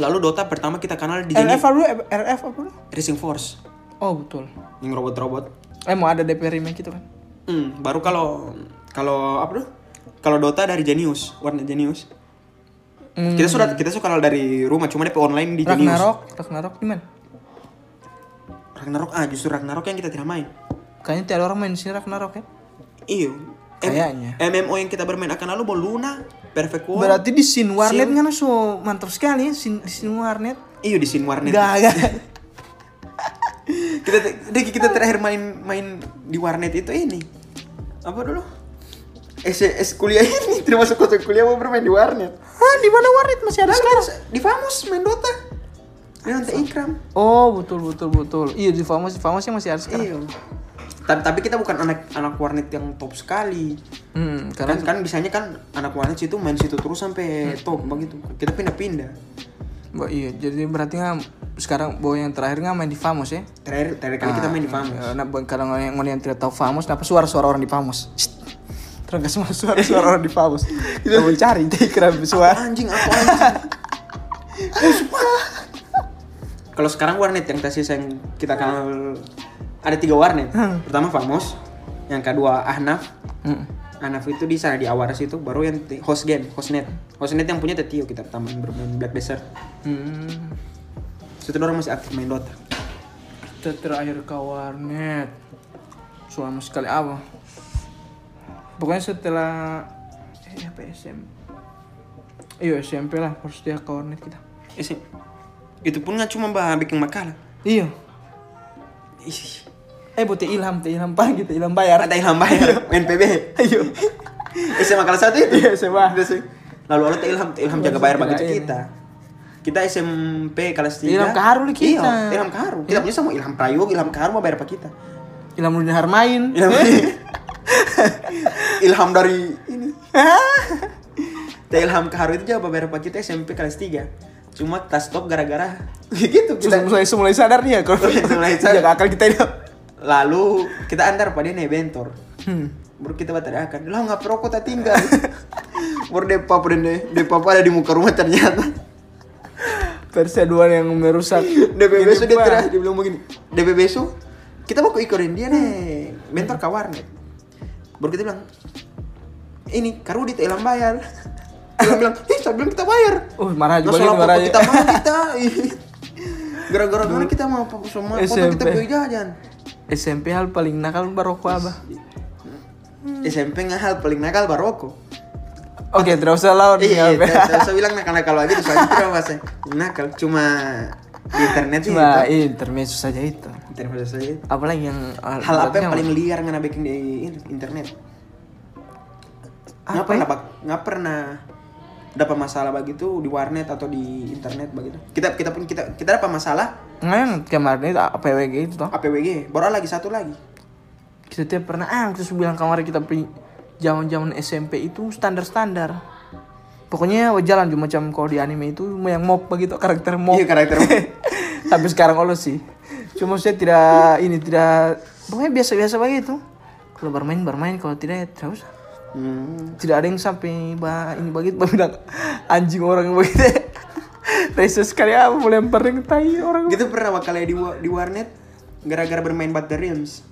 Speaker 2: Lalu Dota pertama kita kenal
Speaker 1: RF
Speaker 2: di sini
Speaker 1: apa dulu? RF apa dulu?
Speaker 2: Racing Force
Speaker 1: Oh, betul.
Speaker 2: yang robot-robot.
Speaker 1: Eh, mau ada DP remake itu kan?
Speaker 2: Hmm, baru kalau kalau apa tuh? Kalau Dota dari Genius, warnet Genius.
Speaker 1: Hmm.
Speaker 2: Kita sudah kita suka kenal dari rumah, cuma dia online di Genius.
Speaker 1: Ragnarok, Ragnarok gimana?
Speaker 2: Ragnarok ah justru Ragnarok yang kita tidak main.
Speaker 1: Kayaknya tiada orang main di sini Ragnarok ya.
Speaker 2: Iyo.
Speaker 1: Kayaknya.
Speaker 2: MMO yang kita bermain akan lalu baru Luna, Perfect World.
Speaker 1: Berarti di scene warnet kan so mantap sekali ya scene, di scene warnet.
Speaker 2: Iyo Iya, di scene warnet.
Speaker 1: Gak, gak.
Speaker 2: Kita Deki, kita terakhir main main di warnet itu ini. Apa dulu? S, S kuliah ini tidak masuk kota kuliah mau bermain di warnet.
Speaker 1: Hah, di mana warnet masih ada sekarang?
Speaker 2: Di Famos main Dota. Dia nanti Ikram.
Speaker 1: Oh, betul betul betul. Iya, di Famos, di Famos masih ada sekarang.
Speaker 2: Iyo. Iya. Tapi, tapi kita bukan anak anak warnet yang top sekali.
Speaker 1: Hmm, karena
Speaker 2: Kan kan biasanya kan anak warnet situ main situ terus
Speaker 1: Hmm.
Speaker 2: sampai top begitu. Kita pindah-pindah.
Speaker 1: Bo- iya, jadi berarti nggak sekarang bahwa yang terakhir nggak main di Famos ya?
Speaker 2: Terakhir terakhir kali kita main di Famos.
Speaker 1: Ya, Nah, buat- kalau yang yang tidak tahu Famos, kenapa suara-suara orang di Famos? Terus nggak semua suara-suara orang di Famos. Kita mau cari deh kira suara.
Speaker 2: anjing aku anjing Eh, sumpah. kalau sekarang warnet yang tesis yang kita kenal ada tiga warnet pertama Famos yang kedua Ahnaf
Speaker 1: Hmm.
Speaker 2: Ahnaf itu di sana di Awaras itu baru yang ti- host game hostnet hostnet yang punya Tetio kita pertama yang bermain Black Desert
Speaker 1: Hmm.
Speaker 2: situ orang masih aktif main Dota
Speaker 1: Kita terakhir ke warnet. Selama sekali apa? Pokoknya setelah eh apa ya, SMP? Iya SMP lah harus dia ke warnet kita.
Speaker 2: Isi- Eh, itu pun nggak cuma bah bikin makalah
Speaker 1: Iya.
Speaker 2: Isi.
Speaker 1: Eh buat Teh ilham, teh ilham pagi, teh ilham bayar.
Speaker 2: ada ilham bayar ya, main PB
Speaker 1: Ayo.
Speaker 2: Isi makalah satu itu
Speaker 1: Iya, SMA.
Speaker 2: Udah sih. lalu lalu ilham ilham jaga bayar
Speaker 1: Maksudnya
Speaker 2: begitu
Speaker 1: kirain.
Speaker 2: kita kita SMP kelas tiga
Speaker 1: Ilham Kaharu lah kita.
Speaker 2: Iya, ilham kaharu kita punya sama ilham prayogo ilham kaharu mau bayar apa kita
Speaker 1: Ilham Nurdin Harmain.
Speaker 2: ilham ilham dari ini Teh ilham kaharu itu jaga bayar apa kita SMP kelas tiga cuma kita stop gara-gara gitu
Speaker 1: Sudah
Speaker 2: kita
Speaker 1: mulai mulai sadar dia kalau
Speaker 2: Mulai sadar.
Speaker 1: Jaga akal kita ini.
Speaker 2: lalu kita antar pada nih bentor
Speaker 1: Hmm.
Speaker 2: baru kita batal akan lah nggak perokok tak tinggal baru deh papa dan deh deh papa ada di muka rumah ternyata
Speaker 1: Perseduan yang merusak.
Speaker 2: dp
Speaker 1: Ini
Speaker 2: besok dia
Speaker 1: gua.
Speaker 2: terah dia bilang begini dp besok kita mau ke ikorin dia nih mentor ke warnet baru kita bilang ini karu di telam bayar dia bilang ih saya bilang kita bayar
Speaker 1: Uh, marah juga lagi
Speaker 2: Masalah
Speaker 1: marah
Speaker 2: pokok
Speaker 1: aja.
Speaker 2: kita mau kita ih. gara-gara gara kita mau apa semua foto kita
Speaker 1: SMP.
Speaker 2: beli jajan
Speaker 1: SMP hal paling nakal baroko apa?
Speaker 2: SMP ngahal paling nakal baroko
Speaker 1: Oke, tidak usah lawan.
Speaker 2: Iya,
Speaker 1: Nggak apa.
Speaker 2: iya. Saya bilang nakal-nakal lagi tuh soalnya tidak bahasa nakal cuma di internet sih.
Speaker 1: Cuma
Speaker 2: itu.
Speaker 1: intermezzo saja itu.
Speaker 2: internet saja. itu.
Speaker 1: Apalagi yang
Speaker 2: Hal apa yang paling liar ngana bikin di in- internet?
Speaker 1: Apa
Speaker 2: Nggak
Speaker 1: ya?
Speaker 2: pernah, bak- nggak pernah dapat masalah begitu di warnet atau di internet begitu. Kita kita pun kita kita dapat masalah
Speaker 1: Nggak yang kemarin itu APWG itu toh.
Speaker 2: APWG. Baru lagi satu lagi.
Speaker 1: Kita tidak pernah ah terus bilang kemarin kita pi zaman-zaman SMP itu standar-standar. Pokoknya jalan cuma macam kalau di anime itu yang mob begitu karakter mob.
Speaker 2: Iya karakter.
Speaker 1: tapi sekarang Allah sih cuma saya tidak ini tidak pokoknya biasa-biasa begitu kalau bermain bermain kalau tidak ya tidak usah
Speaker 2: Hmm.
Speaker 1: tidak ada yang sampai bah ini begitu bah bilang anjing orang begitu Rese sekali apa boleh yang tai orang
Speaker 2: Gitu pernah bakal di wa- di warnet gara-gara bermain Batterians.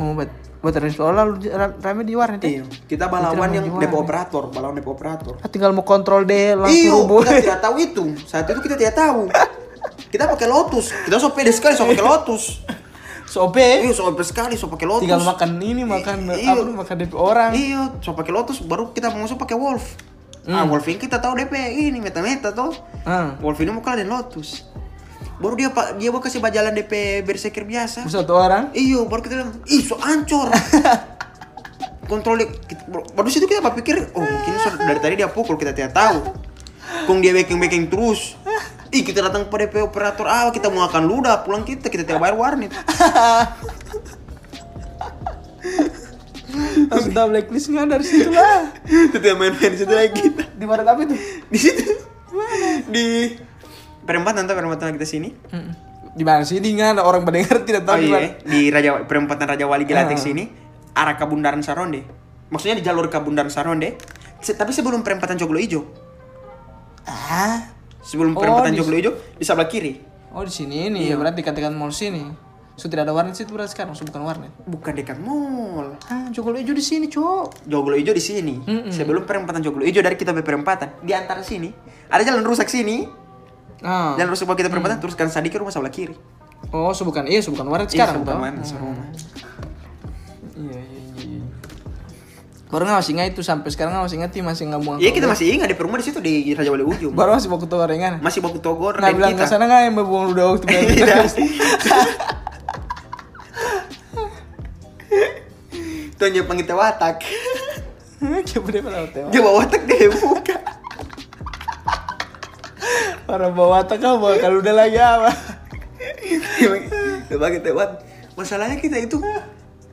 Speaker 1: oh buat buat Rese lalu ra- rame di warnet ya?
Speaker 2: Iya, kita
Speaker 1: Kita main
Speaker 2: balawan yang
Speaker 1: di
Speaker 2: depo
Speaker 1: warnet.
Speaker 2: operator, balawan depo operator.
Speaker 1: Ah, tinggal mau kontrol deh langsung
Speaker 2: Iyo, iya.
Speaker 1: rubuh
Speaker 2: kita tidak tahu itu. Saat itu kita tidak tahu. Kita pakai Lotus. Kita so pede sekali so pakai Lotus.
Speaker 1: sobe
Speaker 2: Iyo, so pede Iya, sekali so pakai Lotus.
Speaker 1: tinggal makan ini makan
Speaker 2: Iya.
Speaker 1: apa makan DP orang
Speaker 2: Iyo, so pakai Lotus baru kita mau so pakai Wolf. Ah, Wolverine kita tahu DP ini meta-meta tuh.
Speaker 1: Ah,
Speaker 2: Wolverine mau kalah dan Lotus. Baru dia pak dia mau kasih bajalan DP berserker biasa.
Speaker 1: satu orang.
Speaker 2: Iyo, baru kita bilang, ih so ancur. Kontrolnya, kita- baru situ kita berpikir, oh mungkin so- dari tadi dia pukul, kita tidak tahu. Kung dia backing-backing terus. Ih kita datang pada DP operator awal, kita mau akan ludah pulang kita, kita tidak bayar warnet.
Speaker 1: Sudah blacklist nggak dari situ lah.
Speaker 2: Kita tidak main-main di situ lagi.
Speaker 1: Di barat apa itu?
Speaker 2: Di situ. Di perempatan atau perempatan kita sini.
Speaker 1: Di mana sih? Di nggak ada orang pendengar tidak
Speaker 2: Oh
Speaker 1: tahu. di mana.
Speaker 2: iya, di Raja perempatan Raja Wali
Speaker 1: Ah.
Speaker 2: Gelatik sini arah Kabundaran Saronde. Maksudnya di jalur Kabundaran Saronde. Se- tapi sebelum perempatan Joglo Ijo.
Speaker 1: Ah.
Speaker 2: Sebelum
Speaker 1: Oh,
Speaker 2: perempatan
Speaker 1: di-
Speaker 2: Joglo Ijo di sebelah kiri.
Speaker 1: Oh di sini nih. Ya berarti dekat-dekat mall sini. So tidak ada warnet situ berarti sekarang. So bukan warnet.
Speaker 2: Bukan dekat mall.
Speaker 1: Ah, Joglo Ijo di sini, Cok.
Speaker 2: Joglo Ijo di sini. Sebelum perempatan Joglo Ijo dari kita ke perempatan di antara sini ada jalan rusak sini.
Speaker 1: Ah.
Speaker 2: Jalan rusak bawah kita perempatan terus kan sadik ke rumah sebelah kiri.
Speaker 1: Oh, so bukan. Iya, so bukan warnet sekarang. Mm.
Speaker 2: Iya,
Speaker 1: toh.
Speaker 2: sebelah
Speaker 1: Hmm.
Speaker 2: mana, sebelah rumah.
Speaker 1: Iya, iya, iya. iya. Baru nggak masih ingat itu sampai sekarang nggak masih ingat sih, masih nggak buang.
Speaker 2: Iya kita masih ingat di rumah di situ di Raja Wali Ujo.
Speaker 1: Baru masih baku tuh gorengan.
Speaker 2: Masih baku togor
Speaker 1: Nggak
Speaker 2: dan
Speaker 1: bilang ke
Speaker 2: kita. Iya.
Speaker 1: sana nggak yang buang udah waktu
Speaker 2: Tidak. Tuh yang Jepang kita watak.
Speaker 1: Coba deh pada hotel.
Speaker 2: Dia bawa watak dia buka.
Speaker 1: Para bawa tak apa kalau udah ya, lagi apa?
Speaker 2: Coba kita wat. Masalahnya kita itu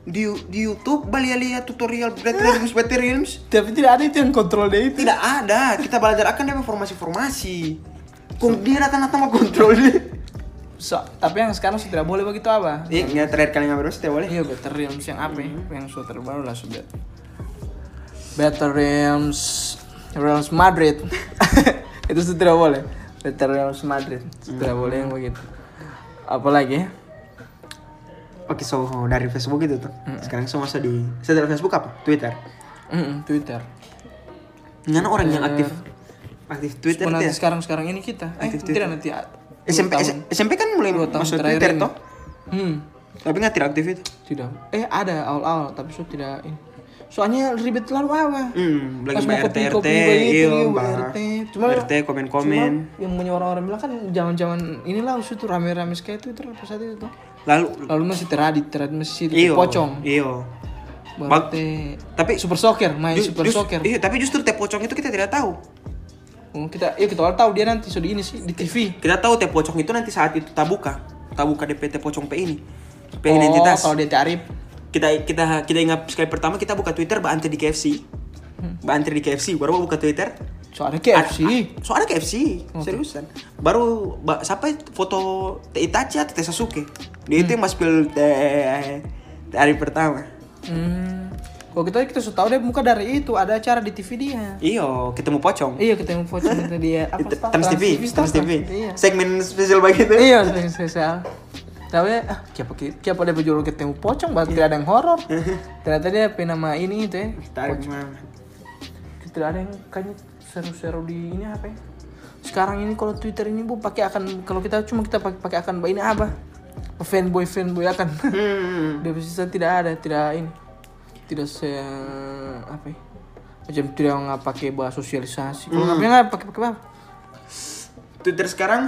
Speaker 2: di di YouTube balik lihat tutorial Breatrooms Breatrooms
Speaker 1: Tapi tidak ada itu yang kontrol dia itu.
Speaker 2: tidak ada. Kita belajar akan dari formasi-formasi. Kung dia datang datang mau kontrol dia.
Speaker 1: So, tapi yang sekarang sudah tidak boleh begitu apa?
Speaker 2: Iya, nggak terakhir kali ngambil tidak boleh.
Speaker 1: Iya better realms yang apa? ya? Yang sudah terbaru lah sudah. Better realms realms Madrid. itu sudah tidak boleh. Better realms Madrid sudah tidak boleh yang begitu. Apalagi ya?
Speaker 2: Oke, so dari Facebook itu tuh. Sekarang so masa di saya dari Facebook apa? Twitter.
Speaker 1: Mm-mm, Twitter.
Speaker 2: Nggak ada orang
Speaker 1: Eh,
Speaker 2: yang aktif aktif Twitter
Speaker 1: Cuma
Speaker 2: tuh
Speaker 1: nanti
Speaker 2: ya?
Speaker 1: sekarang sekarang ini kita. Eh,
Speaker 2: Aktif
Speaker 1: tidak nanti. ah, dua
Speaker 2: SMP
Speaker 1: tahun.
Speaker 2: S- SMP kan mulai
Speaker 1: Dua tahun
Speaker 2: masuk
Speaker 1: terakhir
Speaker 2: Twitter
Speaker 1: ini.
Speaker 2: toh.
Speaker 1: Hmm.
Speaker 2: Tapi nggak tidak aktif itu.
Speaker 1: Tidak. Eh ada awal-awal tapi so tidak ini. Soalnya ribet terlalu apa?
Speaker 2: Hmm,
Speaker 1: Pas
Speaker 2: lagi
Speaker 1: mau
Speaker 2: bayar RT RT,
Speaker 1: kopi-kopi begitu,
Speaker 2: iya,
Speaker 1: iya,
Speaker 2: Mbak.
Speaker 1: bayar RT. Cuma
Speaker 2: RT komen-komen.
Speaker 1: Cuma yang punya orang-orang bilang kan zaman-zaman inilah usus tuh rame-rame kayak Twitter pas saat itu tuh.
Speaker 2: Lalu iya,
Speaker 1: Lalu masih teradit, teradit masih situ,
Speaker 2: iyo,
Speaker 1: pocong.
Speaker 2: Iyo. Bag-
Speaker 1: Baru teh
Speaker 2: Tapi
Speaker 1: super soccer, main
Speaker 2: ju-
Speaker 1: super
Speaker 2: just-
Speaker 1: soccer.
Speaker 2: Iya, tapi justru teh pocong itu kita tidak tahu.
Speaker 1: Oh, kita iya kita orang tahu dia nanti so di ini sih di TV.
Speaker 2: Kita tahu teh pocong itu nanti saat itu tabuka. Tabuka DP teh pocong P ini. P
Speaker 1: oh,
Speaker 2: identitas.
Speaker 1: kalau dia tarif.
Speaker 2: Kita kita kita ingat sekali pertama kita buka Twitter Mbak antri di KFC.
Speaker 1: Hmm.
Speaker 2: Mbak antri di KFC baru buka Twitter.
Speaker 1: Soalnya
Speaker 2: Ah,
Speaker 1: KFC.
Speaker 2: Ad- Soalnya KFC, seriusan. Baru ba, sampai foto Teh Itachi atau Teh Sasuke. Dia itu yang mas pil teh teh hari pertama.
Speaker 1: Hmm. Kalau kita kita sudah tahu dia muka dari itu ada acara di TV dia.
Speaker 2: Iyo, ketemu pocong.
Speaker 1: Iya ketemu pocong itu dia apa?
Speaker 2: Itu-
Speaker 1: Star?
Speaker 2: Trans
Speaker 1: Trans
Speaker 2: TV,
Speaker 1: Star,
Speaker 2: Trans TV.
Speaker 1: Iya.
Speaker 2: Segmen spesial begitu.
Speaker 1: Iya sering spesial. Tapi ah, siapa ki- siapa dia berjuluk ketemu pocong bahkan tidak ada yang horor. Ternyata dia punya nama ini itu ya.
Speaker 2: Tarik mama.
Speaker 1: Tidak ada yang kayaknya seru-seru di ini apa ya? Sekarang ini kalau Twitter ini bu pakai akan kalau kita cuma kita pakai pakai akan ini apa? Fanboy fanboy akan.
Speaker 2: Hmm.
Speaker 1: dia bisa tidak ada tidak ini tidak se apa ya? macam tidak nggak pakai bahas sosialisasi
Speaker 2: Hmm.
Speaker 1: kalau ngapain nggak pakai pakai apa
Speaker 2: Twitter sekarang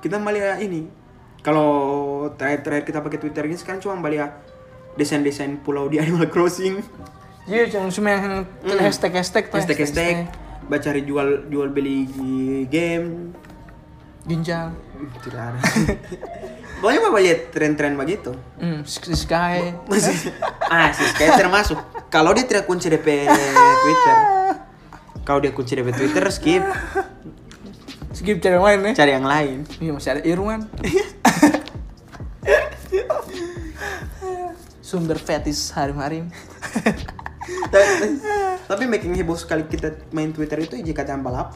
Speaker 2: kita malah ini. Kalau terakhir-terakhir kita pakai Twitter ini sekarang cuma malah desain-desain pulau di Animal Crossing.
Speaker 1: Iya, jangan cuma yang hashtag hashtag tuh.
Speaker 2: Hmm. Hashtag hashtag baca cari jual jual beli game
Speaker 1: Ginjal.
Speaker 2: Tidak ada. Pokoknya mau lihat tren-tren begitu.
Speaker 1: Hmm, Sky- Sky.
Speaker 2: Masih, ah, sih kayak termasuk. Kalau dia tidak kunci DP Twitter, kalau dia kunci DP Twitter skip,
Speaker 1: Skip cari yang lain ya.
Speaker 2: cari yang lain.
Speaker 1: Iya, masih ada Irwan. Sumber fetis harim-harim.
Speaker 2: tapi, tapi making heboh sekali kita main Twitter itu JKT48.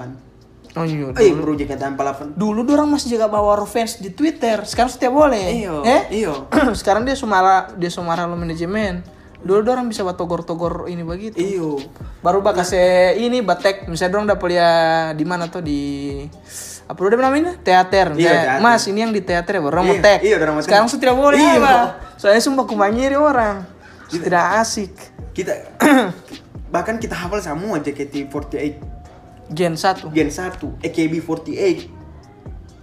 Speaker 1: Oh iya.
Speaker 2: Eh, bro JKT48.
Speaker 1: Dulu orang masih jaga bawa fans di Twitter, sekarang setiap boleh.
Speaker 2: Iyo,
Speaker 1: Eh?
Speaker 2: iyo.
Speaker 1: sekarang dia sumara dia sumara lo manajemen. Dulu orang bisa buat togor-togor ini begitu.
Speaker 2: Iyo.
Speaker 1: baru bakal se ini batek misalnya dong dapat ya di mana tuh di apa udah namanya teater
Speaker 2: Iya,
Speaker 1: Misalnya,
Speaker 2: teater.
Speaker 1: mas ini yang di teater ya baru orang
Speaker 2: Iya,
Speaker 1: mau tek
Speaker 2: iya, orang mau tek.
Speaker 1: sekarang sudah tidak boleh
Speaker 2: Iya.
Speaker 1: apa soalnya sumpah kumanyiri orang tidak asik
Speaker 2: Kita bahkan kita hafal semua JKT48.
Speaker 1: Gen 1.
Speaker 2: Gen 1 AKB48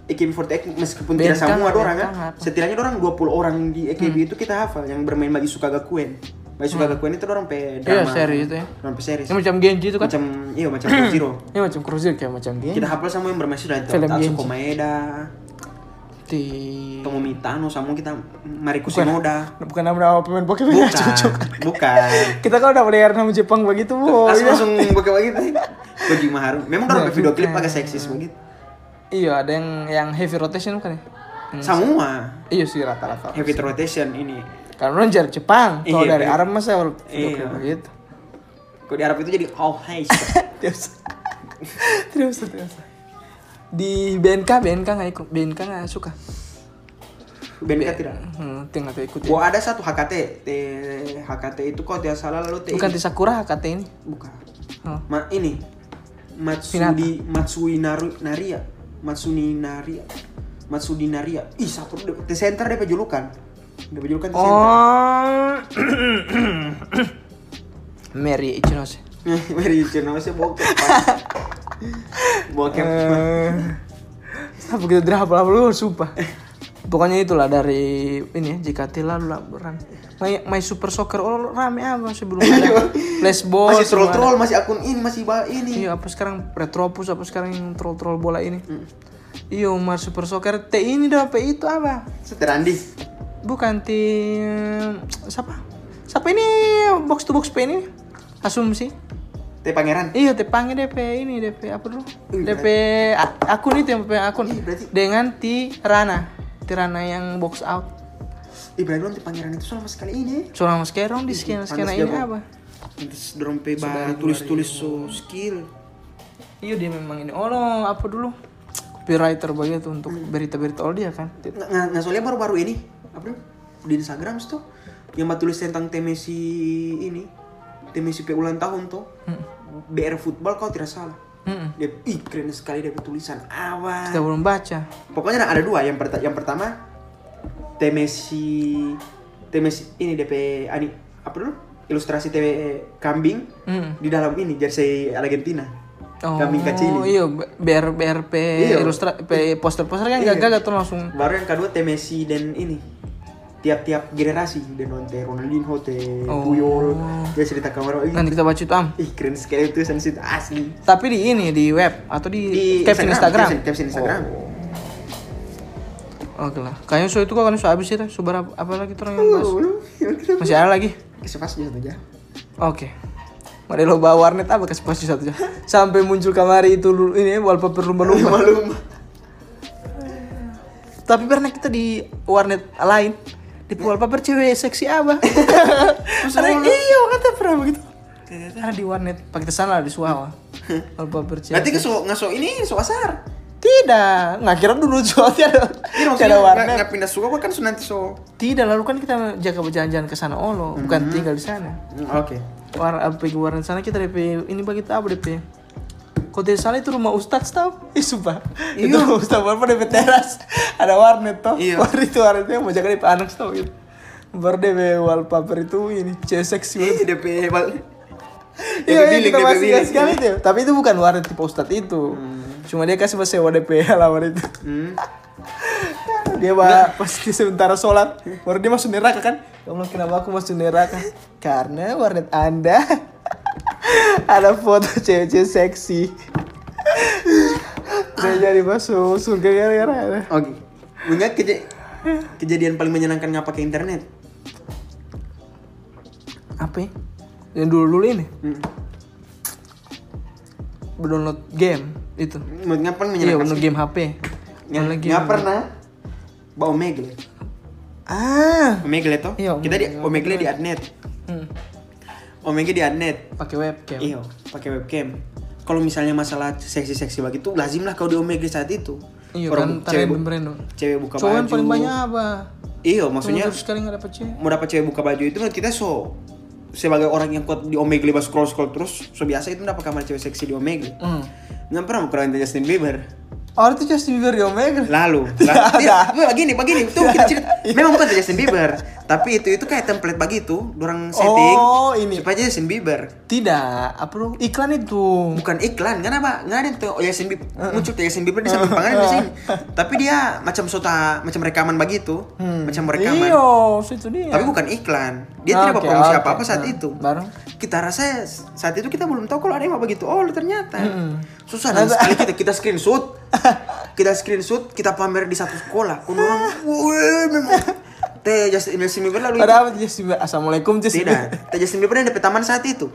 Speaker 2: AKB48 meskipun
Speaker 1: Bentang,
Speaker 2: tidak semua orang kan
Speaker 1: bentang apa. Hmm.
Speaker 2: setidaknya orang 20 orang di AKB itu kita hafal yang bermain bagi Sukagakuen bagi Sukagakuen itu orang pe drama
Speaker 1: Iya, seri itu ya.
Speaker 2: orang pe series
Speaker 1: Ini macam Genji itu kan.
Speaker 2: macam iya macam Zero
Speaker 1: Ini macam Cruiser kayak macam Genji.
Speaker 2: kita hafal sama yang bermain sudah itu
Speaker 1: Film
Speaker 2: Tatsu
Speaker 1: Genji. Hmm.
Speaker 2: Komaeda Tomomi Tano sama kita Mariko Shinoda
Speaker 1: Bukan nama-nama pemain Pokemon yang
Speaker 2: bukan
Speaker 1: cocok. Oh,
Speaker 2: bukan
Speaker 1: Kita kan udah melihara nama Jepang begitu, Bu.
Speaker 2: langsung langsung pakai begitu Kojima Haru memang
Speaker 1: Ya,
Speaker 2: orang pe video klip
Speaker 1: iya. bukan.
Speaker 2: agak seksis begitu
Speaker 1: Iya, ada yang yang heavy rotation bukan ya? Yang-
Speaker 2: semua
Speaker 1: Iya sih rata-rata.
Speaker 2: heavy rotation ini
Speaker 1: Karena orang dari Jepang, kalau
Speaker 2: Iya,
Speaker 1: dari
Speaker 2: iya.
Speaker 1: Arab masa ya, kalau
Speaker 2: Iya.
Speaker 1: video begitu.
Speaker 2: Kalau di Arab itu jadi all high.
Speaker 1: gitu. Terus, terus, terus. Di BNK, BNK nggak ikut, BNK nggak suka.
Speaker 2: BNK tidak.
Speaker 1: Hmm, nanti nggak ikut.
Speaker 2: Gua ada satu HKT. T- HKT itu kalau tidak salah lalu TI.
Speaker 1: Bukan di Sakura kata ini.
Speaker 2: Bukan.
Speaker 1: Oh.
Speaker 2: Ma ini. Matsudi Matsui Naru, Naria. Matsuni Naria. Matsudi Naria. Ih, satu de- the center dia penjulukan. Dia penjulukan the center.
Speaker 1: Oh. Mary Ichinose.
Speaker 2: Mary Chenose bokep. Pak. Bokep.
Speaker 1: Eh, Apa kita drama lah lu sumpah. Pokoknya itulah dari ini ya, JKT lalu lah beran. My, my Super Soccer oh, rame apa sebelum ada flashball
Speaker 2: Masih
Speaker 1: sebelum ada-
Speaker 2: troll-troll, masih akun ini, masih ba ini. Mm.
Speaker 1: Iya apa sekarang retropus apa sekarang yang troll troll bola ini? Iya Umar Super Soccer T ini dah apa itu apa?
Speaker 2: Seterandi.
Speaker 1: Bukan tim siapa? Siapa ini box to box P ini? Asumsi.
Speaker 2: Teh Pangeran.
Speaker 1: Iya tepangnya DP ini DP apa dulu?
Speaker 2: Ih,
Speaker 1: DP a- akun itu yang DP akun
Speaker 2: Ih, Iya. berarti-
Speaker 1: dengan Tirana. Tirana yang box out.
Speaker 2: Ibrahim Teh Pangeran itu selama sekali ini.
Speaker 1: Seorang mas kerong
Speaker 2: Iya,
Speaker 1: di skena skena
Speaker 2: panas
Speaker 1: ini
Speaker 2: jago.
Speaker 1: apa?
Speaker 2: Terus dorong pe bahan tulis-tulis so skill.
Speaker 1: Iya dia memang ini. Oh no, apa dulu? Copywriter begitu untuk
Speaker 2: Iya.
Speaker 1: berita-berita all dia kan.
Speaker 2: Nggak, nggak nggak soalnya baru-baru ini apa tuh? di Instagram tuh yang mbak tulis tentang temesi ini temesi pe ulang tahun tuh BR football kalau tidak salah
Speaker 1: Mm-mm.
Speaker 2: dia ih keren sekali dia punya tulisan
Speaker 1: Kita
Speaker 2: awal
Speaker 1: belum baca.
Speaker 2: pokoknya ada dua yang perta- yang pertama temesi temesi ini DP ani apa dulu ilustrasi TV kambing
Speaker 1: Mm.
Speaker 2: di dalam ini jersey Argentina
Speaker 1: Oh,
Speaker 2: kambing kecil
Speaker 1: Iya, B- BR BRP
Speaker 2: Iya.
Speaker 1: ilustra P- poster-poster kan
Speaker 2: Iya.
Speaker 1: gagal tuh langsung.
Speaker 2: Baru yang kedua teh Messi dan ini tiap-tiap generasi dan non teh Ronaldinho teh
Speaker 1: Oh.
Speaker 2: Puyol dia cerita kamar ih,
Speaker 1: Nanti kita baca itu am.
Speaker 2: ih keren sekali itu sensit asli
Speaker 1: Tapi di ini di web atau di,
Speaker 2: di
Speaker 1: caption Instagram.
Speaker 2: caption, caption Instagram
Speaker 1: Oh, Oke lah. Kayaknya so itu kok kan so habis itu. So berapa apa lagi tuh orang yang bahas?
Speaker 2: ya
Speaker 1: Masih ada lagi.
Speaker 2: kesepas aja saja
Speaker 1: Oke. Mari lo bawa warnet apa ke spasi satu jam. Sampai muncul kamari itu lu- ini wallpaper lumba-lumba.
Speaker 2: malu
Speaker 1: Tapi pernah kita di warnet lain di wallpaper cewek seksi apa? Ada yang- iya kata pernah begitu. Ada di warnet Pakistan lah di Suhawa. Wallpaper cewek.
Speaker 2: nanti ke so ngaso ini so asar
Speaker 1: tidak, nggak kira dulu soalnya ada ada
Speaker 2: ini Iya, maksudnya nggak
Speaker 1: warnet.
Speaker 2: nggak pindah suka kan so nanti so
Speaker 1: Tidak, lalu kan kita jaga jalan-jalan ke sana olo, bukan tinggal di sana.
Speaker 2: Hmm, oke
Speaker 1: War apa ke warnet sana kita DP ini bagi kita apa DP? Kok tidak salah itu rumah ustadz tau? Ih sumpah Itu rumah ustadz apa DP teras Ada warnet tau
Speaker 2: Iya.
Speaker 1: Warnet itu warnetnya mau jaga DP anak tau gitu Baru DP wallpaper itu ini Cewek seksi banget
Speaker 2: ini DP bal
Speaker 1: Iya iya kita
Speaker 2: DP
Speaker 1: masih
Speaker 2: bilik.
Speaker 1: kasih sekali itu Tapi itu bukan warnet tipe ustadz itu Cuma dia kasih sewa DP halaman itu
Speaker 2: Hmm.
Speaker 1: dia bah, pas dia sementara sholat baru dia masuk neraka kan ya Allah kenapa aku masuk neraka karena warnet anda ada foto cewek-cewek seksi dia jadi masuk surga ya, gara-gara ada.
Speaker 2: oke Mengingat keje- kejadian paling menyenangkan nggak pakai internet
Speaker 1: apa ya? yang dulu dulu ini
Speaker 2: Hmm.
Speaker 1: download game itu
Speaker 2: Menurut ngapain
Speaker 1: iya
Speaker 2: menyenangkan
Speaker 1: download game HP
Speaker 2: Nggak,
Speaker 1: Download game
Speaker 2: nggak pernah bawa omegle
Speaker 1: ah
Speaker 2: omegle toh
Speaker 1: Iya,
Speaker 2: kita di
Speaker 1: omegle.
Speaker 2: omegle di adnet
Speaker 1: hmm.
Speaker 2: omegle di adnet
Speaker 1: pakai webcam
Speaker 2: iya pakai webcam kalau misalnya masalah seksi-seksi begitu lazim lah kalau di omegle saat itu
Speaker 1: iya
Speaker 2: Orang
Speaker 1: kan
Speaker 2: cewek,
Speaker 1: random
Speaker 2: bu-
Speaker 1: random
Speaker 2: cewek buka
Speaker 1: cowok yang
Speaker 2: baju
Speaker 1: paling banyak apa
Speaker 2: iya maksudnya
Speaker 1: Terus sekali nggak dapet cewek
Speaker 2: mau dapat cewek buka baju itu menurut kita so sebagai orang yang kuat di omegle pas scroll scroll terus so biasa itu dapat kamar cewek seksi di omegle
Speaker 1: hmm.
Speaker 2: nggak pernah kurang Justin Bieber
Speaker 1: Oh, itu Justin Bieber di Omega.
Speaker 2: lalu
Speaker 1: Tidak
Speaker 2: lalu
Speaker 1: ada.
Speaker 2: tidak begini begini tuh kita cerita memang bukan Justin Bieber Tapi itu itu kayak template pagi itu, orang setting.
Speaker 1: Oh, ini.
Speaker 2: Supaya Justin Bieber.
Speaker 1: Tidak, apa lu? Iklan itu.
Speaker 2: Bukan iklan, karena apa? Nggak ada tuh oh, Justin Bieber. Muncul tuh Justin Bieber di samping panganan di sini. Tapi dia macam sota, macam rekaman bagi itu,
Speaker 1: Hmm.
Speaker 2: Hmm. macam rekaman.
Speaker 1: Iyo, situ Iya, dia.
Speaker 2: Tapi bukan iklan. Dia
Speaker 1: Ah,
Speaker 2: tidak
Speaker 1: oke,
Speaker 2: promosi
Speaker 1: oke.
Speaker 2: apa-apa saat
Speaker 1: Nah,
Speaker 2: itu.
Speaker 1: baru.
Speaker 2: Kita rasa saat itu kita belum tahu kalau ada yang mau begitu. Oh, ternyata. Susah dan sekali kita kita screenshot. kita screenshot, kita pamer di satu sekolah. Kun orang, "Wih, memang." Teh Justin Justin Bieber lalu
Speaker 1: Ada apa tuh Justin Bieber? Assalamualaikum Justin
Speaker 2: tidak. Teh Justin Bieber yang di taman saat itu.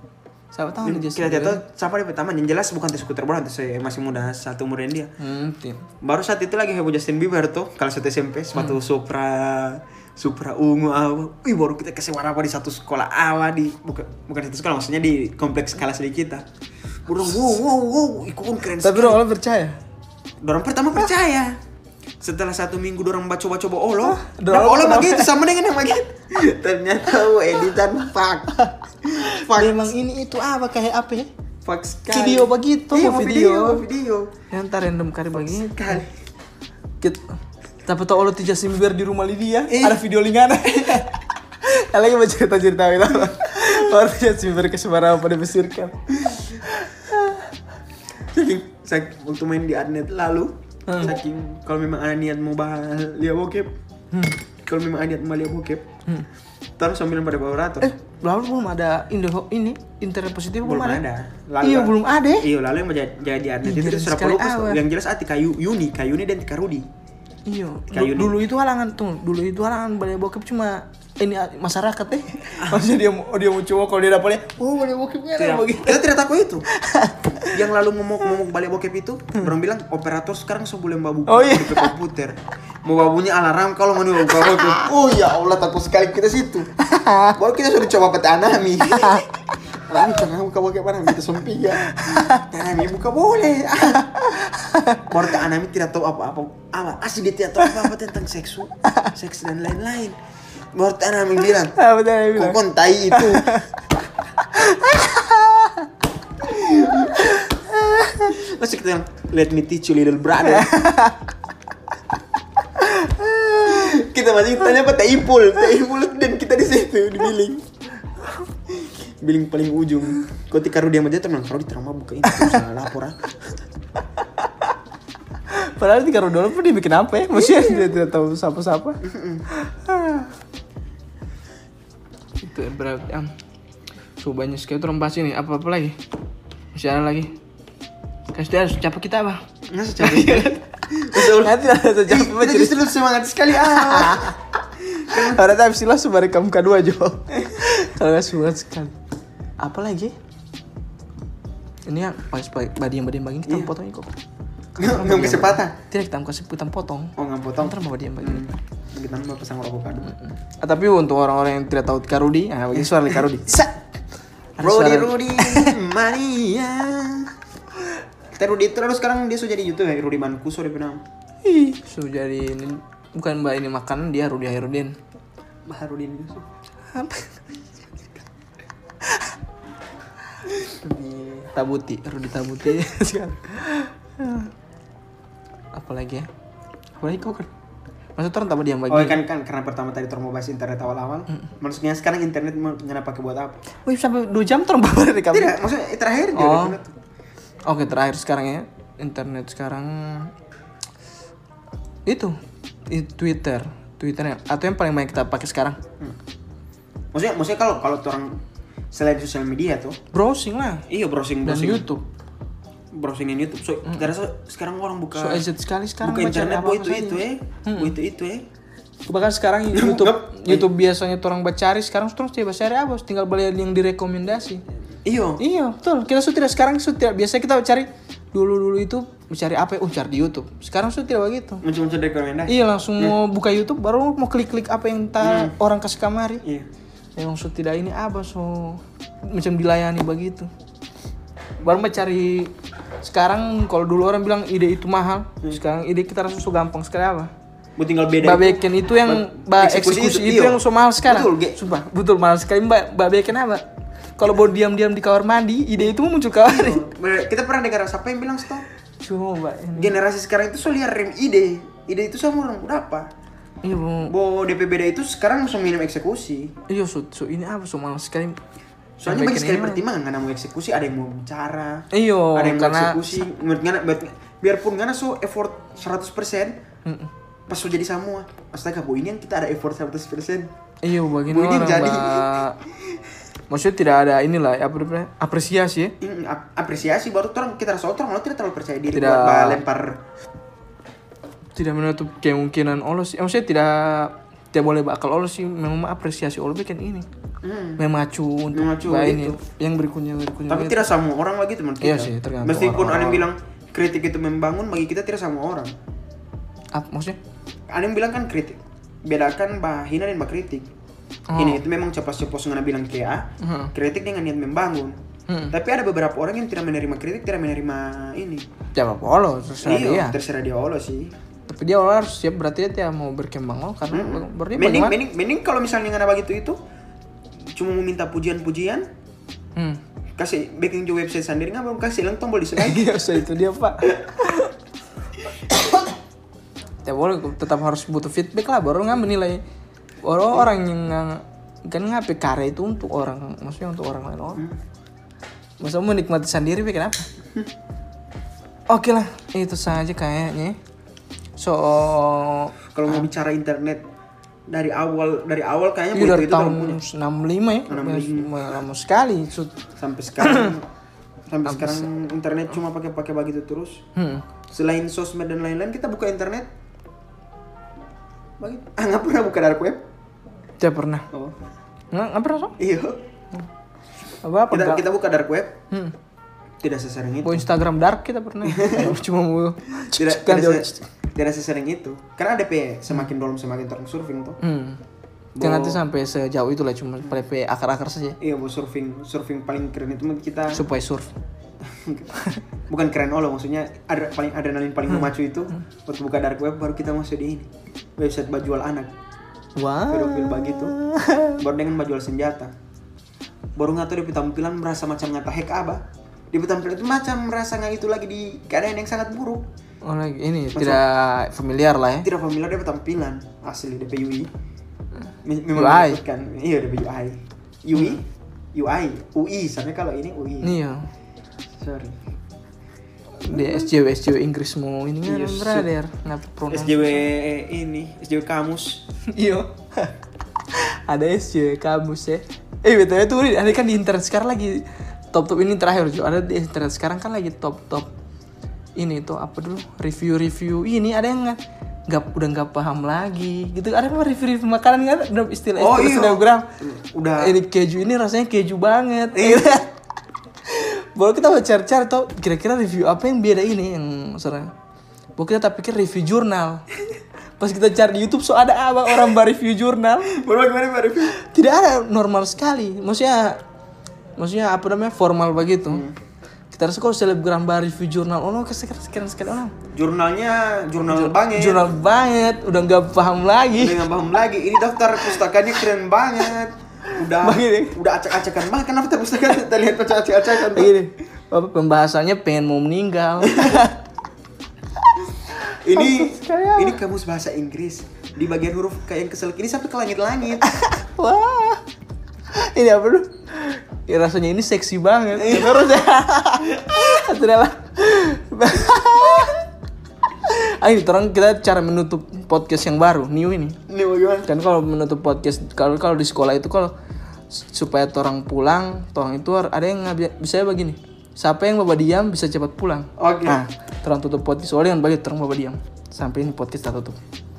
Speaker 1: Siapa tahu nih Oh, Justin
Speaker 2: Kita tidak
Speaker 1: Bieber.
Speaker 2: tahu siapa di taman. Yang jelas bukan Teh Skuter Brown, Teh masih muda satu umuran dia.
Speaker 1: Hmm, tim.
Speaker 2: Baru saat itu lagi heboh Justin Bieber tuh kalau satu SMP sepatu Supra Supra ungu apa. Wih baru kita kesewa apa di satu sekolah awa di bukan bukan satu sekolah maksudnya di kompleks kelas di kita. Burung wow wow wow ikut
Speaker 1: Tapi
Speaker 2: keren. sekali.
Speaker 1: lu orang percaya?
Speaker 2: Dorong pertama percaya. Setelah satu minggu "Oh, dorong coba-coba olo, dan
Speaker 1: dorong-
Speaker 2: olo
Speaker 1: dorong.
Speaker 2: begitu sama dengan yang begitu. Ternyata oh, editan fuck. Fuck.
Speaker 1: Memang ini itu apa kayak apa ya?
Speaker 2: Fuck sekali.
Speaker 1: Video begitu,
Speaker 2: Iya,
Speaker 1: mau
Speaker 2: mau
Speaker 1: video.
Speaker 2: video, mau video.
Speaker 1: Ya, ntar random kali begini.
Speaker 2: Sekali.
Speaker 1: Kita tapi tau lo tuh Justin Bieber di rumah Lydia,
Speaker 2: Iya.
Speaker 1: ada video lingan. Ya lagi mau cerita-cerita gitu. Orang tuh Justin Bieber ke Semarang pada besirkan.
Speaker 2: saking sak- waktu main di adnet lalu
Speaker 1: Hmm.
Speaker 2: saking kalau memang ada niat mau bahas lihat bokep
Speaker 1: Hmm.
Speaker 2: kalau memang ada niat mau lihat bokep taruh sambil pada bawa ratus
Speaker 1: Eh, lalu belum ada Indo ini internet positif belum,
Speaker 2: belum ada
Speaker 1: Iya, belum ada.
Speaker 2: iya lalu yang jadi jadi adnet
Speaker 1: Ih,
Speaker 2: itu
Speaker 1: jarang
Speaker 2: sudah
Speaker 1: sekali
Speaker 2: pelupus
Speaker 1: awal.
Speaker 2: yang jelas ati kayu Yuni kayu Yuni dan Tika Rudi
Speaker 1: Iya,
Speaker 2: Kayu
Speaker 1: du-
Speaker 2: nih.
Speaker 1: dulu itu halangan tuh, dulu itu halangan balai bokep cuma ini ah, masyarakat deh.
Speaker 2: Ah.
Speaker 1: Maksudnya dia mau dia mau cowok kalau dia dapatnya, oh balai bokep kan
Speaker 2: Tidak-
Speaker 1: begitu.
Speaker 2: kita tidak takut itu yang lalu ngomong ngomong balik bokep itu orang bilang operator sekarang sebelum babu
Speaker 1: Hmm. Oh, iya.
Speaker 2: di komputer mau babunya alarm kalau mau babu bokep oh ya Allah takut sekali kita situ baru kita sudah coba peta anami anami jangan buka bokep anami kita sempi ya anami buka boleh baru teh anami tidak tahu apa-apa apa asli dia tidak tahu apa-apa tentang seksu seks dan lain-lain baru teh anami bilang
Speaker 1: Ah, betul dia bilang.
Speaker 2: kokon tai itu Masih kita bilang, let me teach you little brother kita masih tanya apa Taipul Taipul dan kita di situ di billing billing paling ujung kau tikaru dia aja teman kalau kita mah buka ini salah lapor ah."
Speaker 1: Padahal tiga roda dulu pun dia bikin apa ya? Maksudnya
Speaker 2: Iya.
Speaker 1: dia tidak tahu siapa-siapa. Ah. itu berarti am. So banyak sekali tuh orang pasti nih, apa-apa lagi? Masih ada lagi. Kasih dia harus capek kita, Bang.
Speaker 2: nggak secara Iya, Betul. Iya,
Speaker 1: Nanti ada
Speaker 2: Ih,
Speaker 1: sejak
Speaker 2: kita justru semangat sekali ah
Speaker 1: Ada tapi sih langsung bareng kamu kedua Jo. Kalau nggak semangat sekali. Apa lagi? Ini yang pas badi yang badi yang begini kita potongin kok.
Speaker 2: nggak bisa patah
Speaker 1: Tidak kita kasih kita potong.
Speaker 2: oh nggak potong
Speaker 1: Ntar mau badi yang begini.
Speaker 2: Hmm. Kita mau pasang avocado.
Speaker 1: Ah, tapi untuk orang-orang yang tidak tahu Karudi, ah bagi suara Karudi. Sa. Ada
Speaker 2: Rudy
Speaker 1: suara-
Speaker 2: Rudy Maria. Kita Rudy itu lalu sekarang dia sudah jadi YouTube ya Rudy Mancuso dia pernah.
Speaker 1: Ih, so jadi ini bukan mbak ini makanan dia Rudi Hairudin.
Speaker 2: Baru Rudy Mancuso.
Speaker 1: Apa? Rudi Tabuti, Rudi Tabuti sekarang. Apalagi ya? Apalagi kau kan? Maksudnya orang tambah diam
Speaker 2: Oh
Speaker 1: bagi.
Speaker 2: kan kan karena pertama tadi Tor mau bahas internet awal-awal. Maksudnya sekarang internet mau nyana pakai buat apa?
Speaker 1: Wih sampai 2 jam terus baru dari kamu.
Speaker 2: Tidak, maksudnya eh, terakhir dia
Speaker 1: Oh.
Speaker 2: udah tuh.
Speaker 1: Oke terakhir sekarang ya internet sekarang itu i- Twitter Twitter yang atau yang paling banyak kita pakai sekarang
Speaker 2: Maksudnya maksudnya kalau kalau orang selain sosial media tuh,
Speaker 1: browsing lah
Speaker 2: iya browsing
Speaker 1: dan
Speaker 2: browsing
Speaker 1: YouTube
Speaker 2: browsingin YouTube. So, kita rasa sekarang orang buka
Speaker 1: so agent sekali sekarang
Speaker 2: buka
Speaker 1: baca
Speaker 2: internet
Speaker 1: apa-apa
Speaker 2: buat itu
Speaker 1: saja.
Speaker 2: itu eh, buat itu itu eh.
Speaker 1: bahkan sekarang YouTube
Speaker 2: Ngep.
Speaker 1: YouTube biasanya tuh orang bacari sekarang terus dia bacari apa tinggal beli yang direkomendasi
Speaker 2: Iyo.
Speaker 1: iya betul kita sudah tidak sekarang sudah tidak biasa kita cari dulu dulu itu mencari apa ya? oh cari di YouTube sekarang sudah tidak begitu
Speaker 2: Muncul-muncul rekomendasi.
Speaker 1: Iya langsung
Speaker 2: Hmm.
Speaker 1: mau buka YouTube baru mau klik-klik apa yang ta orang kasih kamari.
Speaker 2: Iya.
Speaker 1: Memang so tidak ini apa so macam dilayani begitu. Baru mah cari sekarang kalau dulu orang bilang ide itu mahal,
Speaker 2: Hmm.
Speaker 1: sekarang ide kita rasa so gampang sekali apa?
Speaker 2: Mau tinggal beda.
Speaker 1: Mbak Beken itu yang mbak
Speaker 2: Ba-
Speaker 1: eksekusi,
Speaker 2: eksekusi itu,
Speaker 1: itu,
Speaker 2: iya.
Speaker 1: yang so mahal sekarang.
Speaker 2: Betul, Ge.
Speaker 1: Sumpah, betul mahal sekali Mbak Mbak Beken apa? Kalau mau diam-diam di kamar mandi, ide itu muncul kamar.
Speaker 2: Bener, kita pernah dengar siapa yang bilang stop
Speaker 1: Coba ini.
Speaker 2: generasi sekarang itu soal lihat rem ide ide itu sama orang udah apa
Speaker 1: Iya, Bro.
Speaker 2: Bo DPBD itu sekarang langsung minim eksekusi.
Speaker 1: Iya, so, so ini apa so malam sekali.
Speaker 2: Soalnya banyak sekali
Speaker 1: perbaikan ini.
Speaker 2: pertimbangan karena mau eksekusi, ada yang mau bicara,
Speaker 1: Iya,
Speaker 2: ada yang mau
Speaker 1: karena
Speaker 2: eksekusi. Menurut ngana, buat- biarpun ngana so effort 100%, pas so jadi semua. Astaga, bu ini yang kita ada effort 100%.
Speaker 1: Iya, bagian
Speaker 2: Bu, ini
Speaker 1: orang,
Speaker 2: jadi.
Speaker 1: Mbak. Maksudnya tidak ada inilah ya, apa namanya, apresiasi ya.
Speaker 2: Mm, ap- apresiasi baru orang kita rasa orang lo tidak terlalu percaya diri
Speaker 1: Tidak.
Speaker 2: buat bah- lempar
Speaker 1: Tidak menutup kemungkinan olos. Eh, maksudnya tidak tidak boleh bakal olos sih memang apresiasi olos bikin ini.
Speaker 2: Mm.
Speaker 1: Memacu untuk
Speaker 2: Memacu,
Speaker 1: bah, ini
Speaker 2: gitu.
Speaker 1: yang berikutnya berikutnya.
Speaker 2: tapi tidak sama orang lagi teman kita
Speaker 1: Iya sih, tergantung
Speaker 2: meskipun
Speaker 1: orang-orang.
Speaker 2: ada yang bilang kritik itu membangun bagi kita tidak sama orang
Speaker 1: Ap- maksudnya
Speaker 2: ada yang bilang kan kritik bedakan bah hina dan bah kritik
Speaker 1: Oh.
Speaker 2: ini itu memang ceplos-ceplos ngana bilang kayak ah,
Speaker 1: Mhm.
Speaker 2: kritik dengan niat membangun
Speaker 1: Mhm.
Speaker 2: tapi ada beberapa orang yang tidak menerima kritik tidak menerima ini
Speaker 1: tidak apa olos ya, terserah
Speaker 2: Iya.
Speaker 1: dia.
Speaker 2: terserah dia Allah sih
Speaker 1: Tapi dia olos harus siap berarti dia tidak mau berkembang loh karena
Speaker 2: Hmm.
Speaker 1: berarti
Speaker 2: mending,
Speaker 1: bagaimana?
Speaker 2: mending mending kalau misalnya ngana begitu itu cuma mau minta pujian-pujian
Speaker 1: Hmm.
Speaker 2: kasih backing juga website sendiri nggak belum kasih lang tombol dislike
Speaker 1: Iya, so itu dia, Pak. Tidak Ya boleh, tetap harus butuh feedback lah, baru nggak menilai. Orang orang yang nggak- kan ngapain karya itu untuk orang, maksudnya untuk orang lain orang. Masa mau nikmati sendiri, Pak, kenapa? Oke lah, itu saja kayaknya. So,
Speaker 2: kalau
Speaker 1: Ah.
Speaker 2: mau bicara internet dari awal dari awal kayaknya
Speaker 1: itu
Speaker 2: butuh
Speaker 1: Iya, dari
Speaker 2: itu belum punya
Speaker 1: tahun 65 ya,
Speaker 2: 65.
Speaker 1: lama sekali. So,
Speaker 2: sampai sekarang sampai sekarang internet cuma pakai pakai begitu terus
Speaker 1: hmm.
Speaker 2: selain sosmed dan lain-lain kita buka internet Bagi- ah nggak pernah buka dark web
Speaker 1: Tidak pernah.
Speaker 2: oh
Speaker 1: Nggak nggak pernah, so?
Speaker 2: iya
Speaker 1: Apa-apa,
Speaker 2: kita
Speaker 1: nggak-
Speaker 2: kita buka dark web
Speaker 1: Hmm.
Speaker 2: tidak sesering itu
Speaker 1: Mau Instagram dark kita pernah. Cuma mau
Speaker 2: tidak
Speaker 1: kan Hmm.
Speaker 2: tidak,
Speaker 1: jauh.
Speaker 2: se- tidak sesering itu karena ada pe semakin dalam semakin terang surfing tuh
Speaker 1: Hmm. Jangan nanti sampai sejauh itu lah cuma PP akar-akar saja
Speaker 2: iya bu surfing surfing paling keren itu kita
Speaker 1: supaya surf.
Speaker 2: bukan keren Allah maksudnya ada paling adrenalin paling memacu itu waktu buka dark web baru kita masuk di ini website bajual anak
Speaker 1: Wah.
Speaker 2: pedofil begitu baru dengan bajual senjata baru nggak tahu dia punya tampilan merasa macam ngata hack apa dia punya tampilan itu macam merasa nggak itu lagi di keadaan yang sangat buruk
Speaker 1: Oh, lagi ini tidak familiar lah ya.
Speaker 2: tidak familiar dia punya tampilan asli DP UI Me- memang
Speaker 1: UI.
Speaker 2: menakutkan. iya DP UI UI UI UI sampai kalau ini UI
Speaker 1: Nih ya.
Speaker 2: sorry
Speaker 1: Di SJW SJW Inggris mau ini kan
Speaker 2: Iya, su-
Speaker 1: brother ngapa pronoun.
Speaker 2: SJW ini SJW kamus
Speaker 1: Iya. Ada SJW kamus ya. Eh btw tuh ini ada kan di internet sekarang lagi top top ini terakhir Jo. Ada di internet sekarang kan lagi top top ini tuh apa dulu review review ini ada yang nggak nggak- udah nggak paham lagi gitu ada apa review review makanan nggak ada istilah
Speaker 2: Oh,
Speaker 1: istilah
Speaker 2: iya.
Speaker 1: selebgram
Speaker 2: Udah. Iya.
Speaker 1: ini keju ini rasanya keju banget gitu. baru kita mau cari cari tau kira-kira review apa yang beda ini yang serang baru kita tak pikir review jurnal pas kita cari di YouTube so ada apa orang bar review jurnal
Speaker 2: baru gimana baru
Speaker 1: tidak ada normal sekali maksudnya maksudnya apa namanya formal begitu
Speaker 2: Hmm.
Speaker 1: kita rasa kalau selebgram bar review jurnal oh no kesekian sekian sekali orang
Speaker 2: jurnalnya jurnal banget
Speaker 1: jurnal banget udah nggak paham
Speaker 2: udah
Speaker 1: lagi
Speaker 2: nggak paham lagi ini daftar pustakanya keren banget udah
Speaker 1: Banget ya?
Speaker 2: udah acak-acakan banget kenapa daftar pustaka kita lihat baca acak-acakan
Speaker 1: ini apa pembahasannya pengen mau meninggal
Speaker 2: ini
Speaker 1: Maksud sekali apa?
Speaker 2: ini kamus bahasa Inggris di bagian huruf kayak yang kesel ini sampai ke langit-langit
Speaker 1: wah ini apa tuh ya, rasanya ini seksi banget terus ya adalah ah ini orang kita cara menutup podcast yang baru new ini
Speaker 2: ini bagaimana
Speaker 1: kan kalau menutup podcast kalau kalau di sekolah itu kalau s- supaya orang pulang orang itu har- ada yang ngabi- bisa begini siapa yang bawa diam bisa cepat pulang
Speaker 2: Oke.
Speaker 1: kan nah orang tutup podcast soalnya yang bagi orang bawa diam sampai ini podcast tak tutup